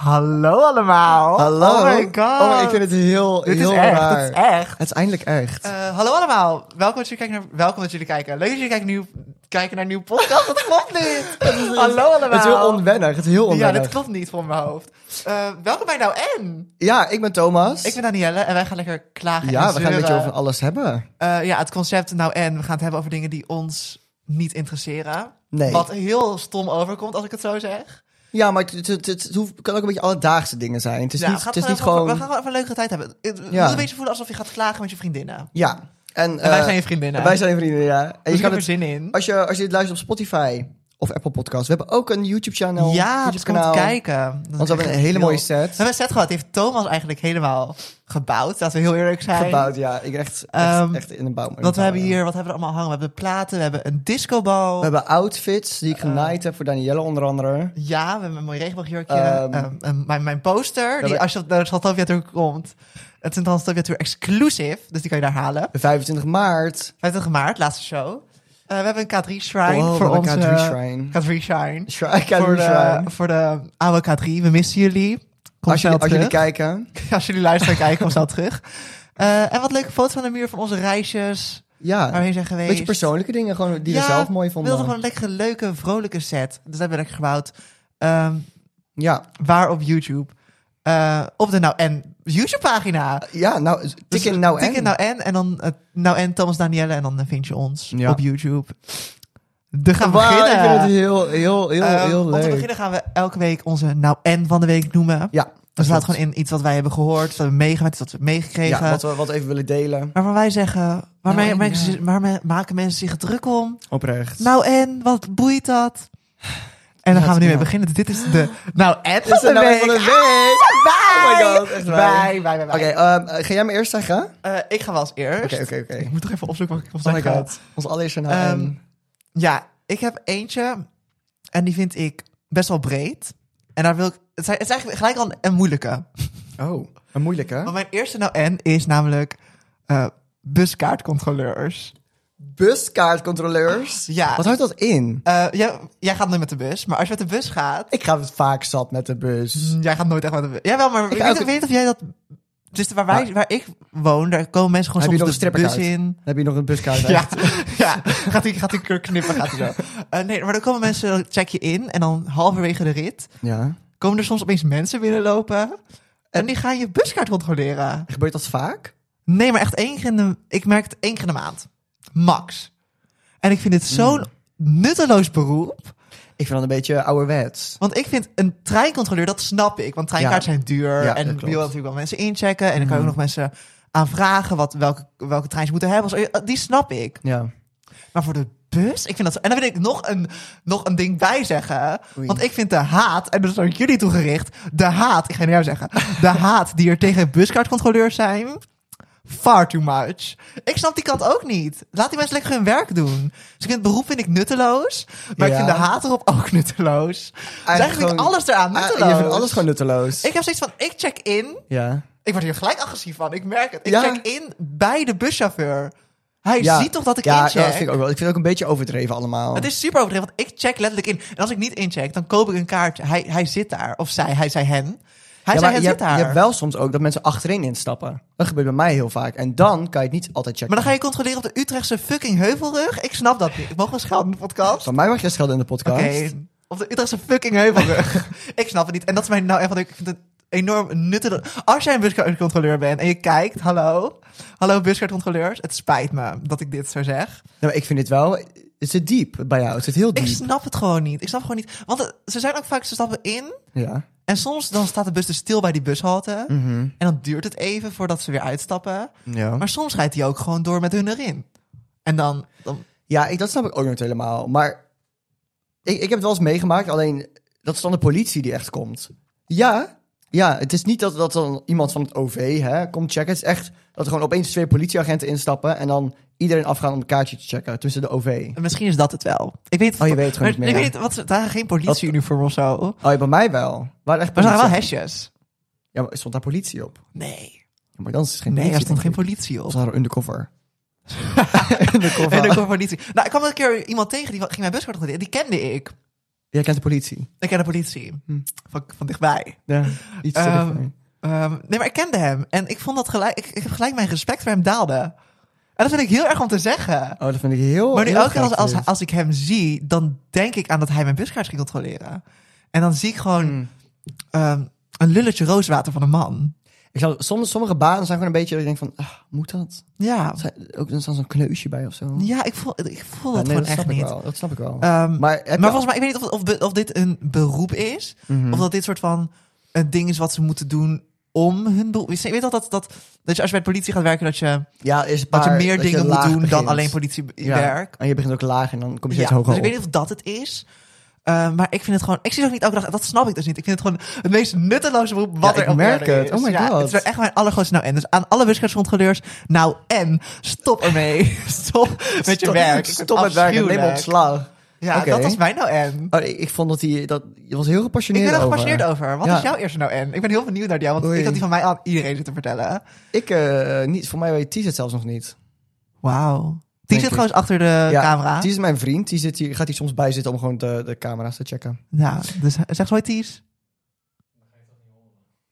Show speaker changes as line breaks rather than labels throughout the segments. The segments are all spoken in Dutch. Hallo allemaal.
Hallo.
Oh my god.
Oh, ik vind het heel,
Dit
heel
is echt,
raar.
dit is echt.
Het is eindelijk echt.
Eh, hallo allemaal. Welkom dat jullie kijken naar... Welkom dat jullie kijken. Leuk dat jullie kijken, nieuw, kijken naar een nieuwe podcast. Dat klopt niet. hallo allemaal.
het is heel onwennig. Het is heel
Ja,
onwennig.
dat klopt niet voor mijn hoofd. Eh, welkom bij Nou En.
Ja, ik ben Thomas.
Ik ben Danielle en wij gaan lekker klagen en
ja, we gaan een beetje
zeuren.
over alles hebben.
Eh, ja, het concept Nou En. We gaan het hebben over dingen die ons niet interesseren.
Nee.
Wat heel stom overkomt als ik het zo zeg.
Ja, maar het, het, het, het hoeft- kan ook een beetje alledaagse dingen zijn. Het is
Ja, Nou, we
niet,
gaan
het is
gewoon
niet
even-
gewoon...
We gaan gewoon even een leuke tijd hebben. Het het
Ja.
moet een beetje voelen alsof je gaat klagen met je vriendinnen.
Ja. En,
En wij
eh,
zijn je vriendinnen.
wij zijn je vrienden, ja. En
Dus
je
ik
kan
heb er
het,
zin in.
als, je, als je dit luistert op Spotify of Apple Podcasts, we hebben ook een YouTube-channel.
Ja, dus
YouTube
komt kijken. Dat
Want we
is
hebben
echt
een hele
heel-
mooie
We
set
hebben een set gehad. Die heeft Thomas eigenlijk helemaal gebouwd. Laten we heel eerlijk zijn.
gebouwd. Ja, ik echt, echt,
Ehm,
echt in de bouw.
Want we hebben hier, wat hebben we er allemaal hangen? We hebben platen, we hebben een discobal.
We hebben outfits
Eh.
die ik genaaid heb voor Danielle onder andere.
Ja, we hebben een mooi regenboogjurkje.
Ehm,
Ehm, ehm, mijn, mijn poster, die
hebben-
als je op de Transylvania Tour komt. Het is een Transylvania Tour exclusive, dus die kan je daar halen.
25 maart.
25 maart, laatste show. Eh, we hebben een K3 Shrine
Wow, we
voor
hebben
onze...
een K3 shrine.
K3 Shrine.
Shrine, K3
voor, de,
shrine.
voor de oude K3, we missen jullie. Kom
Als
snel
jullie, als jullie
terug.
kijken.
als jullie luisteren, kijken kom snel terug. Eh, en wat leuke foto's aan de muur van onze reisjes. Waar
Ja,
we zijn geweest.
beetje persoonlijke dingen gewoon die we zelf mooi
We
vonden.
wilden gewoon een lekkere, leuke, vrolijke set. Dus dat hebben we lekker gebouwd. Ehm,
Ja.
waar op YouTube? Eh, op de Nou En YouTube-pagina.
ja, nou, tik in nou en.
Dus Tik in Nou En en dan eh, Nou En, Thomas Danielle. En dan eh, vind je ons
Ja.
op YouTube. De gaan we
Wauw,
nou beginnen.
ik vind het heel, heel, heel,
Ehm,
heel
Om te
leuk.
beginnen gaan we elke week onze Nou En van de week noemen.
Ja,
Dus
klopt.
laat gewoon in iets wat wij hebben gehoord, wat we hebben meegemaakt, wat we hebben meegekregen.
ja, wat we wat we even willen delen.
Waarvan wij zeggen, waarmee,
Nou, en,
mensen- waarmee maken mensen zich druk om?
Oprecht.
Nou en, wat boeit dat? En dan
Ja,
gaan we nu mee
ja.
beginnen. Dit is de nou en
Dit is de
van de
nou en van de
week.
week.
Bye!
Oh my god, echt waar.
Bye, bye, bye, bye.
Oké, ehm, ga jij maar eerst zeggen? Oké,
Eh, ik ga wel als eerst.
oké, oké.
Ik moet toch even opzoeken wat ik wil
Oh my
zeggen.
god. Ons allereerste nou
Ehm,
en.
Ja, ik heb eentje en die vind ik best wel breed. En daar wil ik, het zijn- het is eigenlijk gelijk al een, een moeilijke.
Oh, een moeilijke.
Want mijn eerste nou en is namelijk eh, buskaartcontroleurs.
Buskaartcontroleurs.
Ja.
Wat houdt dat in?
Eh, jij, jij gaat nu met de bus, maar als je met de bus gaat...
Ik ga het vaak zat met de bus.
Mm, Jij gaat nooit echt met de bus. Jawel, maar ik
ga
weet,
ook-
ik weet niet of jij dat... Dus waar, wij, waar ik woon, daar komen mensen gewoon
Heb je nog een
soms de bus
strippenkaart?
in.
Dan heb je nog een buskaart. hè?
Ja, ja. gaat hij gaat die knippen, gaat hij zo. Eh, nee, maar dan komen mensen, dan check je in en dan halverwege de rit
ja.
komen er soms opeens mensen binnenlopen en die gaan je buskaart controleren.
Gebeurt dat vaak?
Nee, maar echt één keer in de, ik merk het één keer in de maand. Max. En ik vind dit zo'n Mm. nutteloos beroep.
Ik vind dat een beetje ouderwets.
Want ik vind een treincontroleur, dat snap ik. Want treinkaarten
Ja.
zijn duur.
Ja,
en
dat
je wil
klopt. Mm.
natuurlijk wel mensen inchecken. En dan kan je ook nog mensen aanvragen wat, welke, welke trein ze moeten hebben. Zo, Die snap ik.
Ja.
Maar voor de bus? Ik vind dat zo... En dan wil ik nog een, nog een ding bij zeggen.
Oei.
Want ik vind de haat, en dat is aan jullie toegericht. De haat, ik ga naar jou zeggen. De haat die er tegen buskaartcontroleurs zijn... Far too much. Ik snap die kant ook niet. Laat die mensen lekker hun werk doen. Dus ik vind het beroep vind ik nutteloos. Maar ik
Ja.
vind de haat erop ook nutteloos. dus eigenlijk vind ik
gewoon-
alles eraan
Ah,
nutteloos.
je vindt alles gewoon nutteloos.
Ik heb zoiets van, ik check in.
Ja.
Ik word hier gelijk agressief van. Ik merk het. Ik
Ja.
check in bij de buschauffeur. Hij
ja.
ziet toch dat ik
ja,
incheck?
Ja, dat vind ik ook wel. Ik vind het ook een beetje overdreven allemaal.
Het is super overdreven, want ik check letterlijk in. En als ik niet incheck, dan koop ik een kaartje. Hij, hij zit daar. Of zij, hij zei hen. Hij
ja,
zei
maar je,
hen zit
hebt,
daar.
je hebt wel soms ook dat mensen achterin instappen. Dat gebeurt bij mij heel vaak. En dan kan je het niet altijd checken.
Maar dan ga je controleren op de Utrechtse fucking heuvelrug. Ik snap dat niet. Ik mag wel schelden in de podcast.
Van mij mag je schelden in de
Oké,
podcast.
op de Utrechtse fucking heuvelrug. ik snap het niet. En dat is mijn nou echt wat ik vind het enorm nuttig. Als jij een buskaartcontroleur bent en je kijkt, hallo. Hallo buskaartcontroleurs. Het spijt me dat ik dit zo zeg.
Nou, maar ik vind dit wel... Het zit diep bij jou. Het zit heel
Ik
diep.
snap het gewoon niet. Ik snap gewoon niet. Want eh, ze zijn ook vaak, ze stappen in.
Ja.
En soms dan staat de bus dus stil bij die bushalte.
Mhm.
En dan duurt het even voordat ze weer uitstappen.
Ja.
Maar soms rijdt hij ook gewoon door met hun erin. En dan... dan
Ja, ik, dat snap ik ook niet helemaal. Maar ik, ik heb het wel eens meegemaakt, alleen dat is dan de politie die echt komt. Ja, ja het is niet dat, dat dan iemand van het OV hè, komt checken. Het is echt dat er gewoon opeens twee politieagenten instappen en dan iedereen afgaan om een kaartje te checken tussen de OV.
misschien is dat het wel. Ik weet,
Oh, je weet het gewoon niet
maar
meer.
Ik weet niet, want ze dragen geen politieuniform of zo. Maar
Oh, ja, bij mij wel. Er Waren echt
ze dragen wel
politie...
hesjes.
Ja, maar er stond daar politie op.
Nee.
Ja, maar dan is het geen
Nee, er stond geen
politie.
politie
denk ik.
op.
Ze hadden undercover. undercover.
En er kwam politie. Nou, ik kwam een keer iemand tegen, die ging mijn buskaart controleren. Die kende ik.
Jij kent de politie.
Ik ken de politie.
Hm.
Van, van dichtbij.
Ja, iets te
Ehm,
dichtbij.
Ehm, nee, maar ik kende hem. En ik vond dat gelijk... Ik, ik heb gelijk mijn respect voor hem daalde. En dat vind ik heel erg om te zeggen.
Oh, dat vind ik heel...
Maar nu
heel
elke keer als,
gek
als,
dit.
als ik hem zie... dan denk ik aan dat hij mijn buskaart ging controleren. En dan zie ik gewoon...
Hmm.
ehm, een lulletje rooswater van een man.
Ik zou, soms, sommige banen zijn gewoon een beetje... dat Ik denk van, ah, moet dat?
Ja,
Zijn- Ook, er staat zo'n kneusje bij of zo. Ja,
ja ik voel, ik voel
nee,
dat gewoon
snap
echt
ik
niet.
wel. Dat snap ik wel.
Ehm,
maar heb
maar
je-
volgens mij, ik weet niet of, of, be- of dit een beroep is.
Mhm.
Of dat dit soort van een ding is wat ze moeten doen om hun beroep. Ik weet al dat, dat, dat je als je bij de politie gaat werken, dat je,
ja, is een
dat je
paar-
meer
dat
dingen moet
laag
doen dan
begint.
alleen
Ja,
politiewerk.
En je begint ook laag en dan kom je
Ja,
steeds hoger
dus ik
op.
weet niet of dat het is. Eh, maar ik vind het gewoon, ik zie het ook niet elke dag, dat snap ik dus niet. Ik vind het gewoon het meest nutteloze beroep wat
Ja,
er
ik
op
merk
aarde
het.
is.
Oh my
Ja,
god.
Het is echt mijn allergrootste nou en. Dus aan alle buskaartscontroleurs, nou en, stop ermee. stop met je
Stop-
werk. Ik vind
Stop met werken, neem
afschuwelijk.
ontslag.
Ja,
Oké.
dat was mijn nou en.
Oh, ik, ik vond dat hij... Dat, je was heel
Ik
gepassioneerd
ben er
over.
gepassioneerd over. Wat
Ja.
is jouw eerste nou en? Ik ben heel benieuwd naar die, want
Oei.
ik had die van mij aan iedereen zitten vertellen.
Ik eh, niet, voor mij weet Ties het zelfs nog niet.
Wauw. Die
Denk
zit
ik.
gewoon achter de
Ja,
camera.
Ties is mijn vriend. Die zit hier, gaat hier soms bij zitten om gewoon de, de camera's te checken.
Ja, dus zeg zo Ties.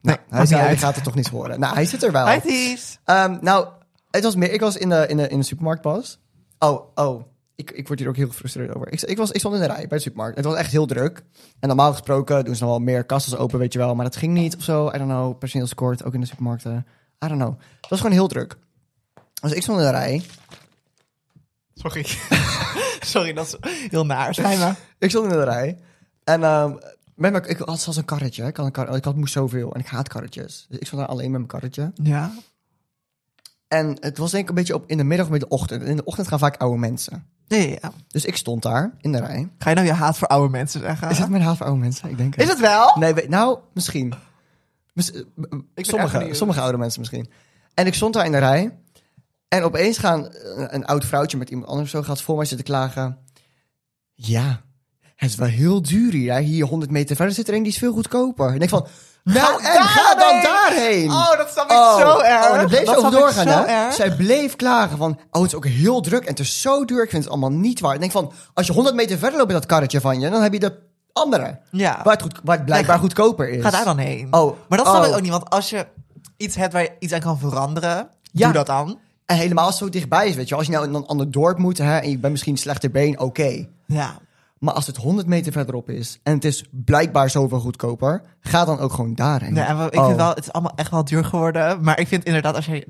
Nee,
Nou,
maakt
Hij,
niet
zei, hij
uit.
gaat het toch niet horen. Nou, hij zit er wel.
Hi Ties.
Ehm, nou, het was meer, ik was in de, in de, in de supermarkt pas. Oh, oh. Ik, ik word hier ook heel gefrustreerd over. Ik, ik, was, ik stond in de rij bij de supermarkt. Het was echt heel druk. En normaal gesproken doen ze nog wel meer kassas open, weet je wel. Maar dat ging niet of zo. I don't know. Personeelskort, ook in de supermarkten. I don't know. Het was gewoon heel druk. Dus ik stond in de rij.
Sorry. Sorry, dat is heel naar. Spijt me.
Ik stond in de rij. En ehm, met mijn, ik had zelfs een karretje. Ik had, een kar, ik had moest zoveel. En ik haat karretjes. Dus ik stond daar alleen met mijn karretje.
Ja.
En het was denk ik een beetje op in de middag of in de ochtend. En in de ochtend gaan vaak oude mensen.
Ja, ja, ja.
Dus ik stond daar in de rij.
Ga je nou je haat voor oude mensen zeggen?
Is dat mijn haat voor oude mensen? Ik denk
Is het wel?
Nee, weet- nou, misschien. Mis- eh, m- m-
ben erg
sommige,
benieuwd.
sommige oude mensen misschien. En ik stond daar in de rij. En opeens gaan eh, een, een oud vrouwtje met iemand anders zo gaat voor mij zitten klagen. Ja, het is wel heel duur hier. hè. Hier 100 meter verder zit er een die is veel goedkoper. En ik van, nou
Ga
en ga dan
daarheen!
daarheen.
Oh, dat snap ik
Oh,
zo erg.
Oh, dan bleef
dat
ze over
snap ik
doorgaan,
zo
hè?
erg.
Zij bleef klagen van, oh, het is ook heel druk en het is zo duur. Ik vind het allemaal niet waar. Ik denk van, als je 100 meter verder loopt met dat karretje van je, dan heb je de andere.
Ja.
Waar het, goed, waar het blijkbaar
Ja, ga-
goedkoper is.
Ga daar dan heen.
Oh,
maar dat snap
oh.
ik ook niet, want als je iets hebt waar je iets aan kan veranderen,
Ja.
doe dat dan.
En helemaal als het zo dichtbij is, weet je wel. Als je nou in een ander dorp moet hè, en je bent misschien slechter been, oké.
Ja.
Maar als het 100 meter verderop is en het is blijkbaar zoveel goedkoper, ga dan ook gewoon daarheen.
Nee, en wel- ik
Oh.
vind wel, het is allemaal echt wel duur geworden. Maar ik vind inderdaad, als je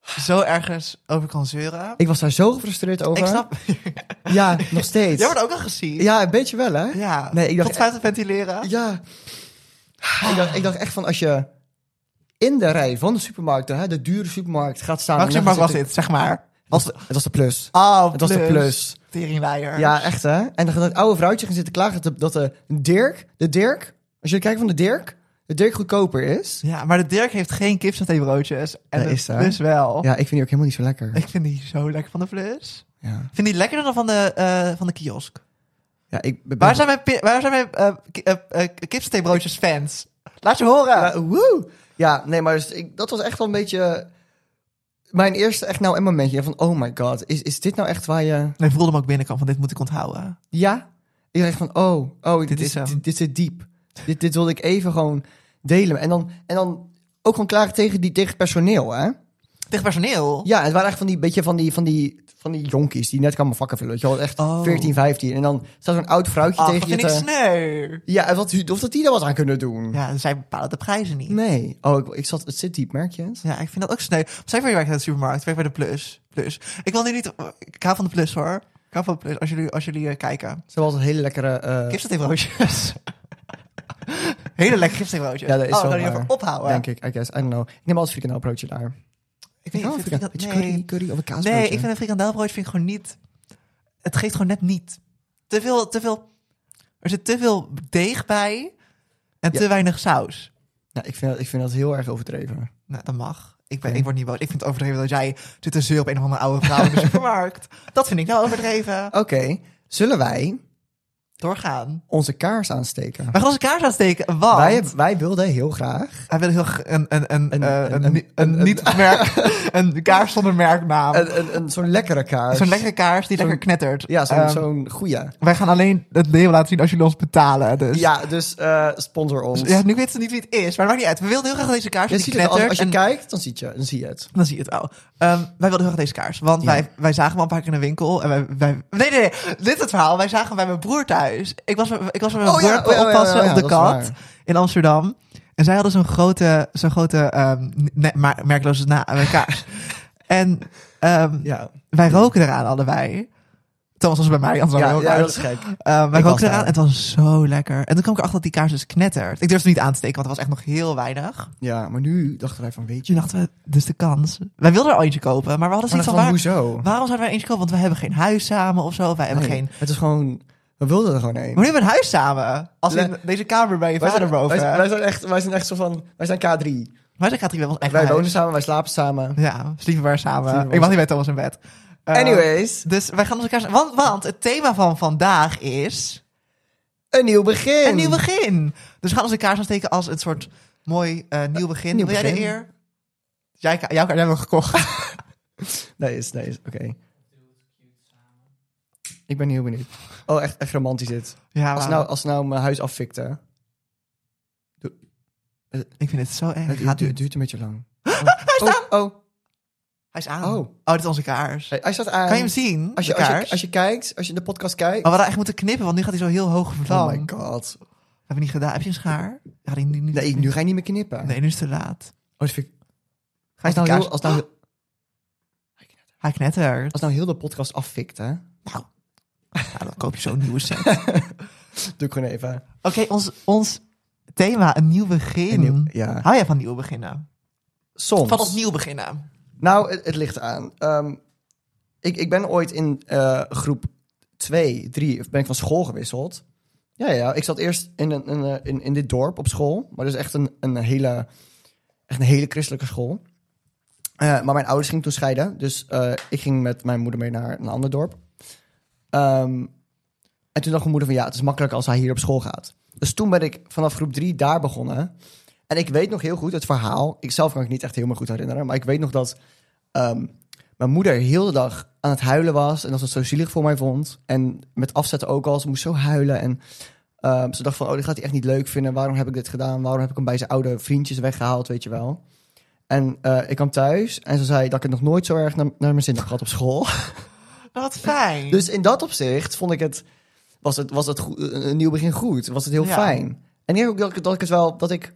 zo ergens over kan zeuren.
Ik was daar zo gefrustreerd over.
Ik snap.
Ja, nog steeds.
Jij wordt ook al gezien.
Ja, een beetje wel, hè?
Ja.
Nee, ik dacht
Tot te ventileren.
Ja. ik, dacht, ik dacht echt van als je in de rij van de supermarkt, hè, de dure supermarkt, gaat staan.
Welke
en dan
supermarkt was
gaat
dit, zeg maar?
zitten- Het was de plus.
Oh,
Het was de Ah, plus.
Teringleier.
Ja, echt hè. En dan gaat dat oude vrouwtje gaan zitten klagen dat de, dat de Dirk, de Dirk, als je kijkt van de Dirk, de Dirk goedkoper is.
Ja, maar de Dirk heeft geen kipsatéebroodjes. En
Nee,
de
is daar.
Plus wel.
Ja, ik vind die ook helemaal niet zo lekker.
Ik vind die zo lekker van de Plus.
Ja,
Ik vind die lekkerder dan van de, eh, van de kiosk.
ja ik ben...
Waar zijn mijn, pi- waar zijn mijn eh, ki- eh, eh, kipsatéebroodjes fans? Laat je horen.
Ja, Eh, woe! Ja, nee, maar dus ik, dat was echt wel een beetje mijn eerste echt nou een momentje van oh my god, is, is dit nou echt waar je...
Nee, ik voelde hem ook binnenkant van dit moet ik onthouden.
Ja. Ik dacht van, oh, oh dit,
is
is,
hem.
dit, dit zit diep. dit, dit wilde ik even gewoon delen. En dan, en dan ook gewoon klagen tegen, die, tegen het personeel, hè?
Tegen personeel?
Ja, het waren echt van die, beetje van die, van die, van die jonkies die net kwamen vakken vullen. weet je wel. echt
Oh. Ah,
14, 15. En dan staat zo'n oud vrouwtje
Ach,
tegen
dat
je
vind ik
te-
sneu.
Ja, en wat, of dat die daar wat aan kunnen doen.
Ja, zij bepalen de prijzen niet.
Nee. Oh, ik, ik zat, het zit diep, merk je het?
Ja, ik vind dat ook sneu. Zij werkt bij de supermarkt, ik werk bij de Plus. Plus. Ik wil nu niet... Ik hou van de Plus, hoor. Ik hou van de Plus, als jullie, als jullie eh, kijken.
Ze was een hele lekkere... eh,
Kipsatéebroodjes. Hele lekker kipsatéebroodjes.
Ja, dat is
oh,
wel
dan
waar.
even ophouden.
denk ik, I guess. I don't know. Ik neem altijd frikandel broodje daar. Oh, Ik
Ik weet
hou
niet,
van frikandel.
ik vind dat...
Beetje curry,
Nee,
curry of een kaasbroodje.
nee ik vind een frikandelbroodje vind ik gewoon niet... Het geeft gewoon net niet. Te veel, te veel... Er zit te veel deeg bij en
Ja.
te weinig saus.
Nou, ik, vind dat, ik vind dat heel erg overdreven.
Nou, dat mag. Ik, ben,
Oké.
ik word niet boos. Ik vind het overdreven dat jij zit te zeuren op een of andere oude vrouw in de supermarkt. Dat vind ik nou overdreven.
Oké, zullen wij
doorgaan.
onze kaars aansteken.
Wij gaan onze kaars aansteken, want
Wij, wij wilden heel graag
hij wil heel graag een, een, een,
Een-
eh,
een-
een,
een-
een,
een-
niet merk, een kaars zonder merknaam.
een, een, een, zo'n lekkere kaars.
zo'n lekkere kaars die
zo'n-
lekker knettert.
Ja, zo'n,
Ehm,
zo'n goeie.
Wij gaan alleen het deel laten zien als jullie ons betalen. Dus. Ja.
Ja, dus eh, sponsor ons.
nu weet ze niet wie het is, maar het maakt niet uit. We wilden heel graag deze kaars.
Je
die
ziet het, als,
knettert
als je
en-
kijkt, dan, ziet je, dan zie je het.
Dan zie je het al. Ehm, wij wilden heel graag deze kaars. Want
Ja.
wij, wij zagen hem al een paar keer in de winkel. En wij, wij, nee, nee, nee. Dit is het verhaal. Wij zagen hem bij mijn broer thuis. Ik was, met- ik was met mijn
Oh ja,
broer
oh ja, ja,
oppassen
ja, ja,
op de
dat is
kat
waar.
in Amsterdam. En zij hadden zo'n grote, zo'n grote ehm, ne- ma- merkloze na eh, kaars. en ehm,
Ja,
wij roken eraan allebei. Thomas was bij mij, anders
ja,
hadden we
ja,
ook
dat
uit.
is gek.
Ehm, wij
Ik
rookten
was
eraan
daar.
en het was zo lekker. En toen kwam ik erachter dat die kaars dus knettert. Ik durfde het niet aan te steken, want er was echt nog heel weinig.
Ja, maar nu dachten wij van, weet je...
Toen dachten we, dus de kans. Wij wilden er al eentje kopen, maar we hadden
Maar
zoiets
dan
van, waar,
hoezo?
waarom zouden wij eentje kopen? Want we hebben geen huis samen of zo. Wij hebben
Nee,
geen...
Het is gewoon... We wilden er gewoon één.
Maar nu hebben we een huis samen. Als in
Le-
deze kamer bij je
Wij
vader
zijn,
boven.
wij, zijn- wij
Wij,
zijn echt, wij zijn echt zo van... Wij zijn K3.
zijn gaat hier wel ons echt
Wij
huis.
wonen samen, wij slapen samen.
Ja, sliepen we maar samen.
Sliepen we
ik
maar-
was niet bij Thomas in bed. Eh,
Anyways,
Dus wij gaan onze kaars... Want, want het thema van vandaag is...
een nieuw begin.
Een nieuw begin. Dus we gaan onze kaars aansteken als een soort mooi eh, nieuw begin.
nieuw
Wil jij de
begin. Ah,
eer? Jij, ka- jouw kaars hebben we gekocht.
Nee, is, nee, is, oké. Ik ben heel benieuwd. Oh, echt, echt romantisch dit.
ja,
Als
wauw.
nou, als nou mijn huis affikte.
ik vind het zo erg.
Het,
Gaat
duurt,
nu.
het duurt een beetje lang.
Hij, is aan.
Oh, oh.
hij is aan.
Oh.
Oh, dit is onze kaars.
Hey, Hij staat aan.
Kan je hem zien?
Als je,
de
als,
kaars?
je, als je kijkt, als je de podcast kijkt.
Maar we hadden echt moeten knippen, want nu gaat hij zo heel hoog vlam.
oh my god.
Hebben we niet gedaan. Heb je een schaar? Ja, die, nu, nu-
Nee, nu ga je niet meer knippen.
nee, nu is het te laat.
Oh, dat vind ik- als,
Hij, is
nou
nou
heel, als, nou,
heel... hij knettert.
als nou heel de podcast affikt, hè?
Nou, ja, dan koop je zo'n nieuwe set. Oké,
Doe ik gewoon even.
ons, ons thema, een nieuw begin.
Een nieuw- ja.
Hou jij van nieuw beginnen?
Soms.
Van opnieuw beginnen.
Nou, het, het ligt aan. Ehm, ik, ik ben ooit in eh, groep 2, 3, of ben ik van school gewisseld. Ja, ja. Ik zat eerst in, een, in, een- in, in dit dorp op school. Maar dat is echt een, een, hele, echt een hele christelijke school. Eh, maar mijn ouders gingen toen scheiden. Dus eh, ik ging met mijn moeder mee naar een ander dorp. Ehm, en toen dacht mijn moeder van ja, het is makkelijk als hij hier op school gaat. Dus toen ben ik vanaf groep 3 daar begonnen. En ik weet nog heel goed het verhaal. Ik zelf kan ik niet echt helemaal goed herinneren. Maar ik weet nog dat ehm, mijn moeder heel de dag aan het huilen was. En dat ze het zo zielig voor mij vond. En met afzetten ook al. Ze moest zo huilen. En ehm, ze dacht van, oh, dit gaat hij echt niet leuk vinden. Waarom heb ik dit gedaan? Waarom heb ik hem bij zijn oude vriendjes weggehaald, weet je wel? En eh, ik kwam thuis en ze zei dat ik het nog nooit zo erg naar, naar mijn zin had gehad op school.
Nou, wat fijn.
Dus in dat opzicht vond ik het, was het, was het goe- een nieuw begin goed. Was het heel
Ja.
fijn. En ik denk ook dat ik, dat ik het wel, dat ik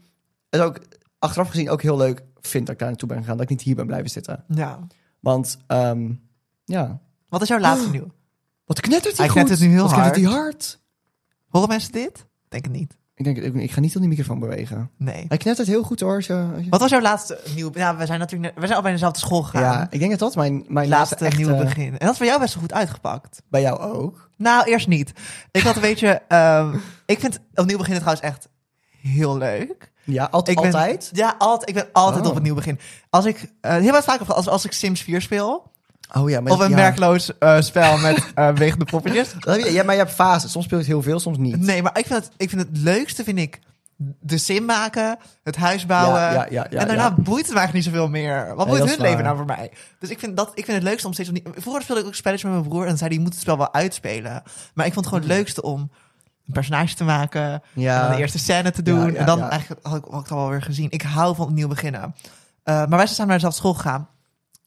het ook achteraf gezien ook heel leuk vind dat ik daar naartoe ben gegaan. Dat ik niet hier ben blijven zitten.
ja.
Want, ehm, ja.
Wat is jouw
Ah.
laatste nieuw?
Wat knettert hij
Hij
goed.
knettert nu heel
Wat knettert hij hard.
Horen mensen dit? Denk het niet.
Ik denk, ik, ik ga niet op die microfoon bewegen.
Nee.
Hij knettert heel goed hoor. Zo, als je-
Wat was jouw laatste nieuw... Nou, we zijn natuurlijk net- we zijn al bij dezelfde school gegaan.
ja, ik denk dat dat eh, mijn, mijn
laatste,
laatste echte-
nieuwe begin. En dat is voor jou best wel goed uitgepakt.
Bij jou ook.
Nou, eerst niet. Ik had een beetje... ehm, ik vind opnieuw beginnen trouwens echt heel leuk.
Ja, al-
Ik ben-
altijd.
Ja, altijd. Ik ben altijd
Oh.
op opnieuw begin. Als ik... eh, heel erg vaak op- als, als ik Sims 4 speel.
Oh ja, maar
Of een
ja.
merkloos eh, spel met eh wegende poppetjes.
Dat heb je- ja, maar je hebt fases. Soms speel je het heel veel, soms niet.
Nee, maar ik vind het, ik vind het leukste, vind ik, de sim maken, het huis bouwen.
Ja, ja, ja, ja,
en daarna
ja.
boeit het me eigenlijk niet zoveel meer. Wat
Nee,
boeit
dat
hun
is
leven
waar.
nou voor mij? Dus ik vind, dat, ik vind het leukste om steeds opnieuw... Vroeger speelde ik ook spelletjes met mijn broer en zei die moet het spel wel uitspelen. Maar ik vond het gewoon het leukste om een personage te maken,
Hmm. Ja.
en dan de eerste scène te doen.
ja,
en dan
ja.
eigenlijk had ik, had ik het alweer gezien. Ik hou van opnieuw beginnen. Eh, maar wij zijn samen naar dezelfde school gegaan.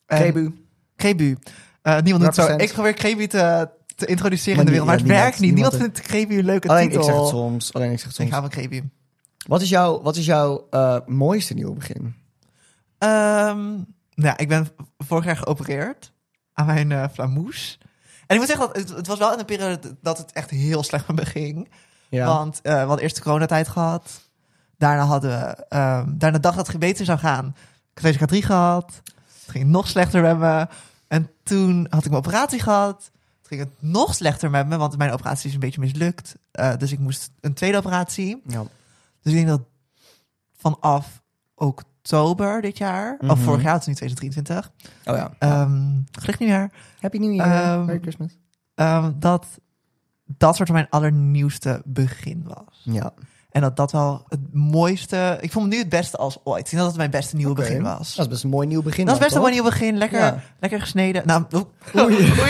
En-
Kebu.
Krebu. Eh, niemand doet zo.
Represent.
Ik probeer Krebu te, te introduceren
Maar
in de
nie-
wereld,
ja,
maar het
niemand-
werkt niet. Niemand
niemand
vindt Krebu een leuke
Alleen
titel.
ik zeg het soms. Alleen ik zeg het
Ik
soms.
hou van Krebu.
Wat is jouw, wat is jouw eh, mooiste nieuwe begin?
Ehm, nou, ja, ik ben vorig jaar geopereerd aan mijn eh flamoes. En ik moet zeggen, dat het, het was wel in een periode dat het echt heel slecht met me ging.
Ja.
Want eh, we hadden eerst de coronatijd gehad. Daarna hadden we... ehm, daarna dacht dat het beter zou gaan. Ik had deze K3 gehad. Het ging nog slechter met me. En toen had ik mijn operatie gehad. Het ging het nog slechter met me, want mijn operatie is een beetje mislukt. Eh, dus ik moest een tweede operatie.
ja. Oh
Dus ik denk dat vanaf oktober dit jaar... Of
Mhm.
vorig jaar, het is nu 2023.
Oh ja.
ehm gelukkig nieuwjaar.
Happy New
Year.
Year.
Ehm, Merry
Merry Christmas.
ehm, dat dat soort van mijn allernieuwste begin was.
Ja.
En dat dat wel het mooiste... Ik voel me nu het beste als ooit. Ik denk dat het mijn beste nieuwe
Oké.
begin was.
Dat is best een mooi nieuw begin.
Dat is
dan,
best een mooi
toch?
nieuw begin. Lekker,
Ja.
lekker gesneden. Nou, oe- oei, oei, oei,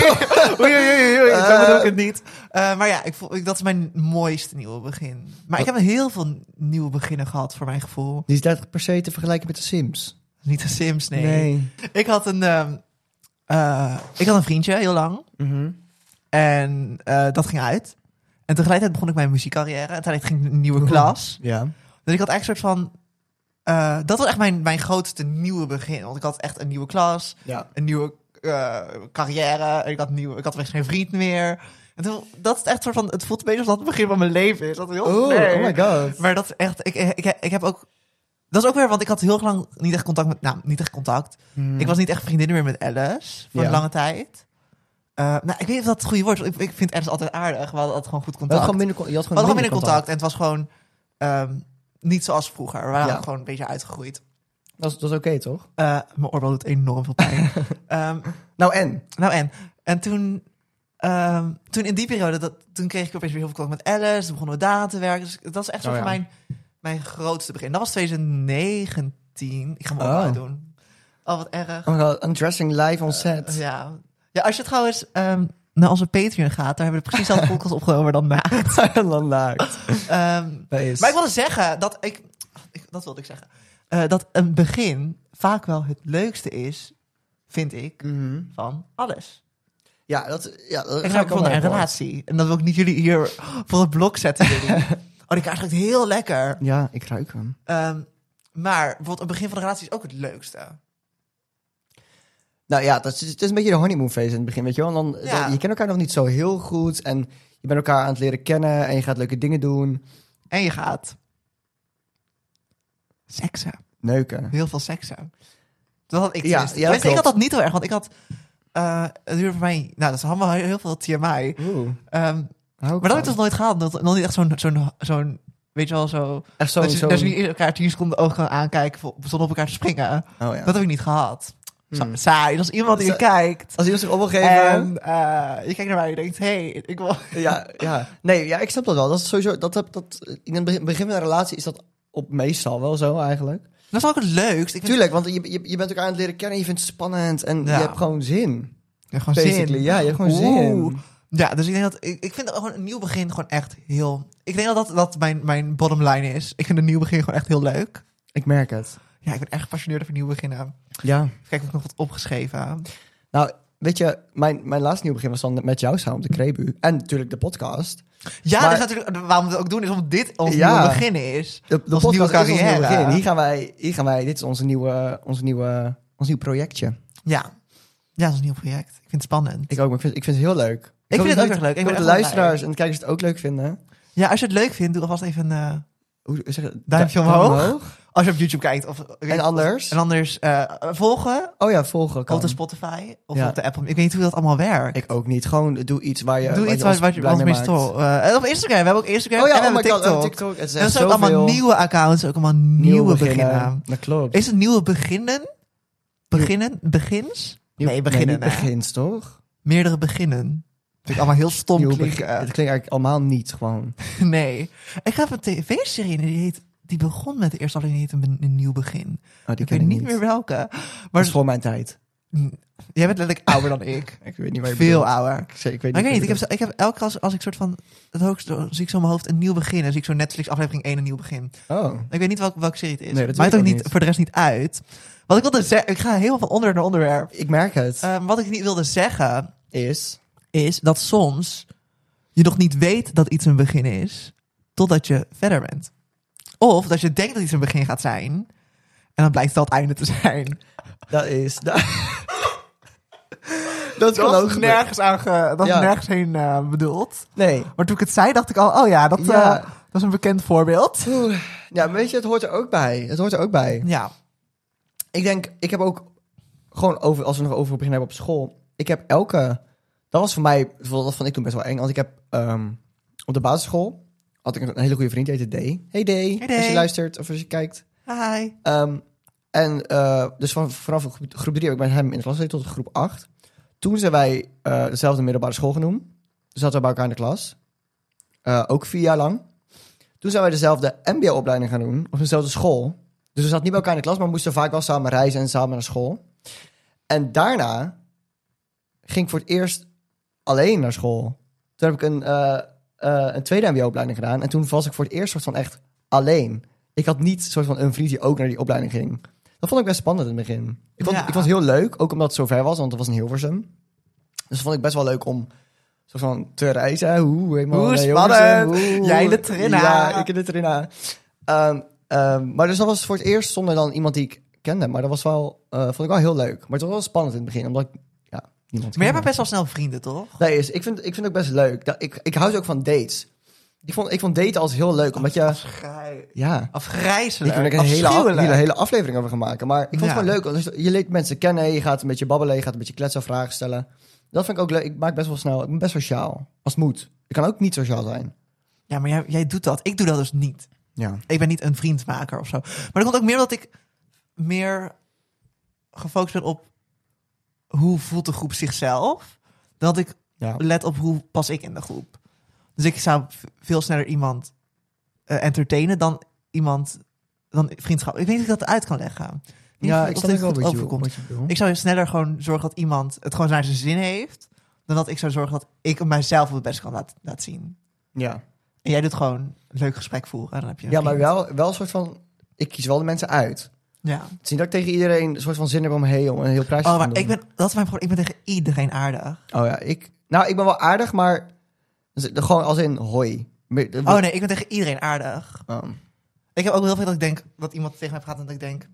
oei, oei, zo bedoel ik het niet. Eh, maar ja, ik voel, ik, dat is mijn mooiste nieuwe begin. Maar ik heb heel veel nieuwe beginnen gehad, voor mijn gevoel.
Die is 30 per se te vergelijken met de Sims.
Niet de Sims, nee. Ik, had een, ehm, eh, ik had een vriendje, heel lang.
Mhm.
En eh, dat ging uit. En tegelijkertijd begon ik mijn muziekcarrière. En tegelijkertijd ging ik een nieuwe klas.
Ja.
Dus ik had echt een soort van... eh, dat was echt mijn, mijn grootste nieuwe begin. Want ik had echt een nieuwe klas.
Ja.
een nieuwe eh, carrière. En ik had, nieuw, ik had echt geen vriend meer. En toen, dat is echt soort van, het voelt een beetje alsof dat het begin van mijn leven is. Dat is heel
Oh,
sneu.
oh my god.
Maar dat is echt, ik, ik, ik heb ook, dat is ook weer, want ik had heel lang niet echt contact met, nou, niet echt contact. Ik was niet echt vriendinnen meer met Alice voor
Hmm. Ja.
een lange tijd. Eh, nou, ik weet niet of dat het goede woord is. want Ik, ik vind Alice altijd aardig. We hadden altijd gewoon goed
We hadden
contact.
gewoon minder, con- je had
We
gewoon
hadden gewoon minder contact. En het was gewoon ehm, niet zoals vroeger. We waren
Ja.
gewoon een beetje uitgegroeid.
Dat is, dat is oké, toch?
Eh, mijn oorbel doet enorm veel pijn. Ehm,
Nou, en?
Nou en, en toen, ehm, toen in die periode, dat, toen kreeg ik opeens weer heel veel contact met Alice. Toen begonnen we daar aan te werken. Dus dat is echt zo
Oh,
van
ja.
mijn, mijn grootste begin. Dat was 2019. Ik ga mijn
Oh.
oh. doen. Oh, wat erg.
Oh my god, Undressing live on set.
Ja. ja, als je trouwens ehm, naar onze Patreon gaat, daar hebben we precies dezelfde podcast opgenomen dan na.
En dan naakt.
Ehm,
Wees.
maar ik wilde zeggen dat ik, ik- dat wilde ik zeggen, Eh, dat een begin vaak wel het leukste is, vind ik,
Mhm.
van alles.
Ja, dat... Ja, dat
Ik
ga
raak
wel
van een
mee, hoor.
relatie. En dat wil ik niet jullie hier voor het blok zetten. jullie. oh, die kaart ruikt heel lekker.
Ja, ik ruik hem.
Ehm, maar bijvoorbeeld een begin van een relatie is ook het leukste.
Nou ja, dat is, het is een beetje de honeymoon phase in het begin, weet je wel. En Dan,
Ja.
dan- je kent elkaar nog niet zo heel goed en je bent elkaar aan het leren kennen en je gaat leuke dingen doen.
En je gaat seksen.
Neuken.
Heel veel seksen. Dat had ik
Ja,
ja,
ja, dat
Ik had
klopt.
dat niet heel erg, want ik had... eh het duurde voor mij... Nou, dat is allemaal heel, heel veel TMI.
Oeh.
Ehm,
hou ik
maar dat heb
van.
ik dus nooit gehad. Nog nog niet echt zo'n... zo'n zo'n weet je wel, zo...
Echt zo'n...
dat, je,
zo'n-
dat je niet elkaar tien seconden ogen gaan aankijken... vol- zonder op elkaar te springen.
Oh ja.
Dat heb ik niet gehad. Sa-
Hmm.
Saai, dat is iemand die je
Sa-
kijkt.
Als iemand zich op wil geven...
En eh, je kijkt naar mij en je denkt, hey, ik wil...
Ja, ja. Nee, ja, ik snap dat wel. Dat is sowieso... Dat, heb- dat, in het begin- begin van een relatie is dat op meestal wel zo eigenlijk.
Dat is ook het leukst. Ik vind
Tuurlijk, want je, je, je bent elkaar aan het leren kennen. Je vindt het spannend en
Ja.
je hebt gewoon zin.
Ja, gewoon
Basically,
zin.
ja, je hebt gewoon
Oeh.
zin.
Ja, dus ik denk dat... Ik, ik vind gewoon een nieuw begin gewoon echt heel... Ik denk dat dat, dat mijn, mijn bottom line is. Ik vind een nieuw begin gewoon echt heel leuk.
Ik merk het.
Ja, ik ben echt gepassioneerd over nieuw beginnen.
Ja.
Even kijken of ik nog wat opgeschreven.
Nou, weet je, mijn, mijn laatste nieuw begin was dan met jou samen op de Krebu. En natuurlijk de podcast.
Ja,
Maar-
dat is natuurlijk, waarom we het ook doen is omdat dit ons
Ja.
nieuwe begin is.
De, de
Onze nieuwe
podcast is ons nieuw
carrière.
begin. Hier gaan wij, hier gaan wij dit is onze nieuwe, onze nieuwe, ons nieuw projectje.
Ja. Ja, dat is een nieuw project. Ik vind het spannend.
Ik ook, maar ik vind, ik vind het heel leuk. Ik,
vind
hoop dat
het ook
jullie-
erg leuk. Ik
hoop
ben
dat de
echt wel
luisteraars en de kijkers het ook leuk vinden.
Ja, als je het leuk vindt, doe alvast even... eh,
Hoe zeg je dat?
Duimpje
Du-
omhoog. Als je op YouTube kijkt. Of,
En anders?
En anders eh, volgen.
Oh ja, volgen kan.
Op de Spotify of
Ja.
op de Apple. Ik weet niet hoe dat allemaal werkt.
Ik eh, ook niet. Gewoon doe iets waar je
Doe
waar
iets
je ons
waar, waar je
blij mee
wat mee
maakt.
stol. en op Instagram. We hebben ook Instagram
Oh
en
ja,
we
oh my
hebben
god, en
TikTok.
TikTok. Het is
En
echt
dat zijn ook allemaal
zoveel
nieuwe accounts. Ook allemaal nieuwe, beginnen.
Dat klopt.
Is het nieuwe beginnen? Beginnen? Begins? nee, beginnen.
Nee, niet
hè.
begins, toch?
Meerdere beginnen. Dat vind ik allemaal heel stom
Nieuwe eh, Oh,
klinken.
begin- Het klinkt eigenlijk allemaal niet gewoon.
Nee. Ik heb een tv-serie in, die, heet, die begon met de eerste aflevering. die heet een, een nieuw begin.
Oh, die ken
Ik weet
ik
niet
niet.
meer welke.
Dat
Maar
is voor mijn tijd.
jij bent letterlijk ouder dan ik.
Ik weet niet waar je
Veel
bedoelt.
ouder.
Ik, zei- ik weet
Maar
niet.
ik weet niet, ik heb,
wat
zo- ik heb elke keer als, als ik soort van... Het hoogst, zie ik zo in mijn hoofd een nieuw begin. En zie ik zo Netflix aflevering 1 een nieuw begin.
je bedoelt. Oh.
Ik weet niet welke, welke serie het is.
Nee, dat
Maakt
weet
ook
ik ook
niet,
niet.
voor de rest niet uit. Wat ik wilde zeggen... Ik ga helemaal van onder naar onderwerp.
Ik merk het.
Ehm, wat ik niet wilde zeggen
is...
is dat soms je nog niet weet dat iets een begin is... totdat je verder bent. Of dat je denkt dat iets een begin gaat zijn... en dan blijkt het al het einde te zijn.
Dat is... Dat, dat kan
Dat
ook
is
gebeuren.
nergens, aan ge- dat is
Ja.
nergens heen eh, bedoeld.
Nee.
Maar toen ik het zei, dacht ik al... oh ja, dat, eh,
Ja.
dat is een bekend voorbeeld.
Oeh. Ja, maar weet je, het hoort er ook bij. Het hoort er ook bij.
Ja.
Ik denk, ik heb ook gewoon over, als we nog over het begin hebben op school. Ik heb elke, dat was voor mij, bijvoorbeeld, dat vond ik toen best wel eng. Want ik heb ehm, op de basisschool had ik een hele goede vriend, die heette D. Hey D,
Hey,
als je
D.
luistert of als je kijkt.
Hi.
Ehm, en eh, dus van, vanaf groep- groep 3 heb ik met hem in de klas gezeten tot groep 8. Toen zijn wij eh, dezelfde middelbare school genoemd. Dus zaten we bij elkaar in de klas. eh, ook vier jaar lang. Toen zijn wij dezelfde MBO-opleiding gaan doen, op dezelfde school. Dus we zaten niet bij elkaar in de klas, maar we moesten vaak wel samen reizen en samen naar school. En daarna ging ik voor het eerst alleen naar school. Toen heb ik een, eh, eh, een tweede MBO-opleiding gedaan. En toen was ik voor het eerst soort van echt alleen. Ik had niet soort van een vriend die ook naar die opleiding ging. Dat vond ik best spannend in het begin. Ik vond,
Ja.
ik vond het heel leuk, ook omdat het zo ver was, want het was in Hilversum. Dus dat vond ik best wel leuk om soort van te reizen. Hoe, helemaal
Oeh,
naar
spannend.
Hilversum, oeh.
Jij in de trainer.
Ja, ik in de trainer. Ehm, ehm, maar dus dat was voor het eerst zonder dan iemand die ik kende. Maar dat was wel, eh, vond ik wel heel leuk. Maar het was wel spannend in het begin, omdat ik, ja, niemand
Maar jij
kende.
hebt best wel snel vrienden, toch?
Nee, is, ik, vind, ik vind het ook best leuk. Dat, ik, ik hou ook van dates. Ik vond, ik vond daten altijd heel leuk, omdat je...
Afgrij...
Ja, ik
Afgrijzelijk.
heb er een hele, af-
Afschuwelijk.
hele, hele aflevering over gemaakt. Maar ik vond
Ja.
het gewoon leuk. want dus je leert mensen kennen, je gaat een beetje babbelen, je gaat een beetje kletsen, vragen stellen. Dat vind ik ook leuk. Ik maak best wel snel, ik ben best sociaal. Als het moet. Ik kan ook niet sociaal zijn.
Ja, maar jij, jij doet dat. Ik doe dat dus niet.
Ja.
Ik ben niet een vriendmaker of zo. Maar dat komt ook meer omdat ik meer gefocust ben op hoe voelt de groep zichzelf. Dan dat ik
Ja.
let op hoe pas ik in de groep. Dus ik zou v- veel sneller iemand eh, entertainen dan iemand dan vriendschap. Ik weet niet of ik dat uit kan leggen. Ik weet
Ja,
niet
ik
of
snap ook
dit
wel
goed
wat je,
overkomt.
wat je bedoelt.
Ik zou sneller gewoon zorgen dat iemand het gewoon naar zijn zin heeft. Dan dat ik zou zorgen dat ik mijzelf op het best kan laat- laten zien.
ja.
En jij doet gewoon een leuk gesprek voeren. en Dan heb je een
ja, maar
vriend.
wel, wel een soort van... Ik kies wel de mensen uit.
Ja.
Het is niet dat ik tegen iedereen een soort van zin heb om, hey, om een heel prijs
Oh,
te
maar
doen.
ik ben, dat is mijn probleem. Ik ben tegen iedereen aardig.
Oh ja, ik... Nou, ik ben wel aardig, maar... dus, eh, Gewoon als in hoi. Meer-
Oh nee, ik ben tegen iedereen aardig.
Ehm,
Ik heb ook heel veel dat ik denk, dat iemand tegen mij praat en dat ik denk,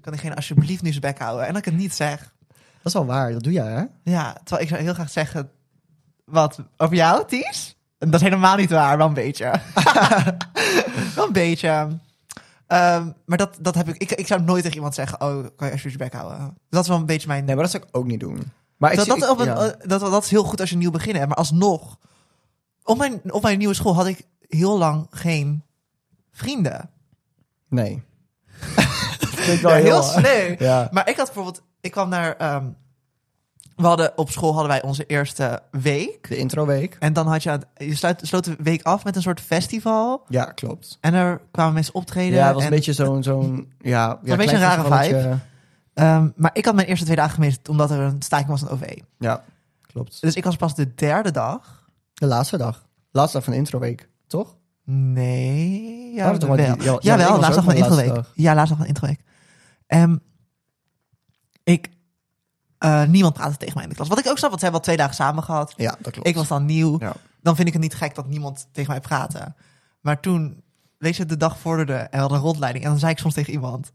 kan diegene alsjeblieft nu zijn bek houden? En dat ik het niet zeg.
dat is wel waar, dat doe jij, hè?
Ja, terwijl ik zou heel graag zeggen, wat, over jou, Ties? En Dat is helemaal niet waar, wel een beetje. wel een beetje. Ehm, maar dat, dat heb ik, ik, ik zou nooit tegen iemand zeggen, oh, kan je alsjeblieft je bek houden? Dat is wel een beetje mijn...
Nee, maar dat zou ik ook niet doen. Maar ik,
dat,
zie-
dat,
ik-
op een,
ja.
eh, dat, dat is heel goed als je nieuw begint. hè, Maar alsnog, op mijn, op mijn nieuwe school had ik heel lang geen vrienden.
Nee. dat klinkt
Ja,
wel
heel
heel...
sneu.
Ja.
Maar ik had bijvoorbeeld, ik kwam naar, ehm, we hadden, op school hadden wij onze eerste week.
De introweek.
En dan had je, aan het- je sluit, sloot de week af met een soort festival.
Ja, klopt.
En er kwamen mensen optreden.
Ja, het was een
en,
beetje zo'n... zo'n ja, ja,
een beetje een
klein
rare
festivalletje.
ehm, maar ik had mijn eerste twee dagen gemist, omdat er een staking was in het OV.
Ja, klopt.
E. Dus ik was pas de derde dag.
De laatste dag. Laatste dag van de introweek, toch?
Nee, ja,
Oh, dat was
wel.
die- ja,
ja,
ja, ik
wel,
was
laatst
ook
nog een
mijn laatste
introweek.
dag.
Ja, laatst nog een introweek. Ehm ik, eh, niemand praatte tegen mij in de klas. Wat ik ook snap, want ze hebben al twee dagen samen gehad.
Ja, dat klopt.
Ik was dan nieuw.
Ja.
Dan vind ik het niet gek dat niemand tegen mij praatte. Maar toen, weet je, de dag vorderde en we hadden een rondleiding. En dan zei ik soms tegen iemand,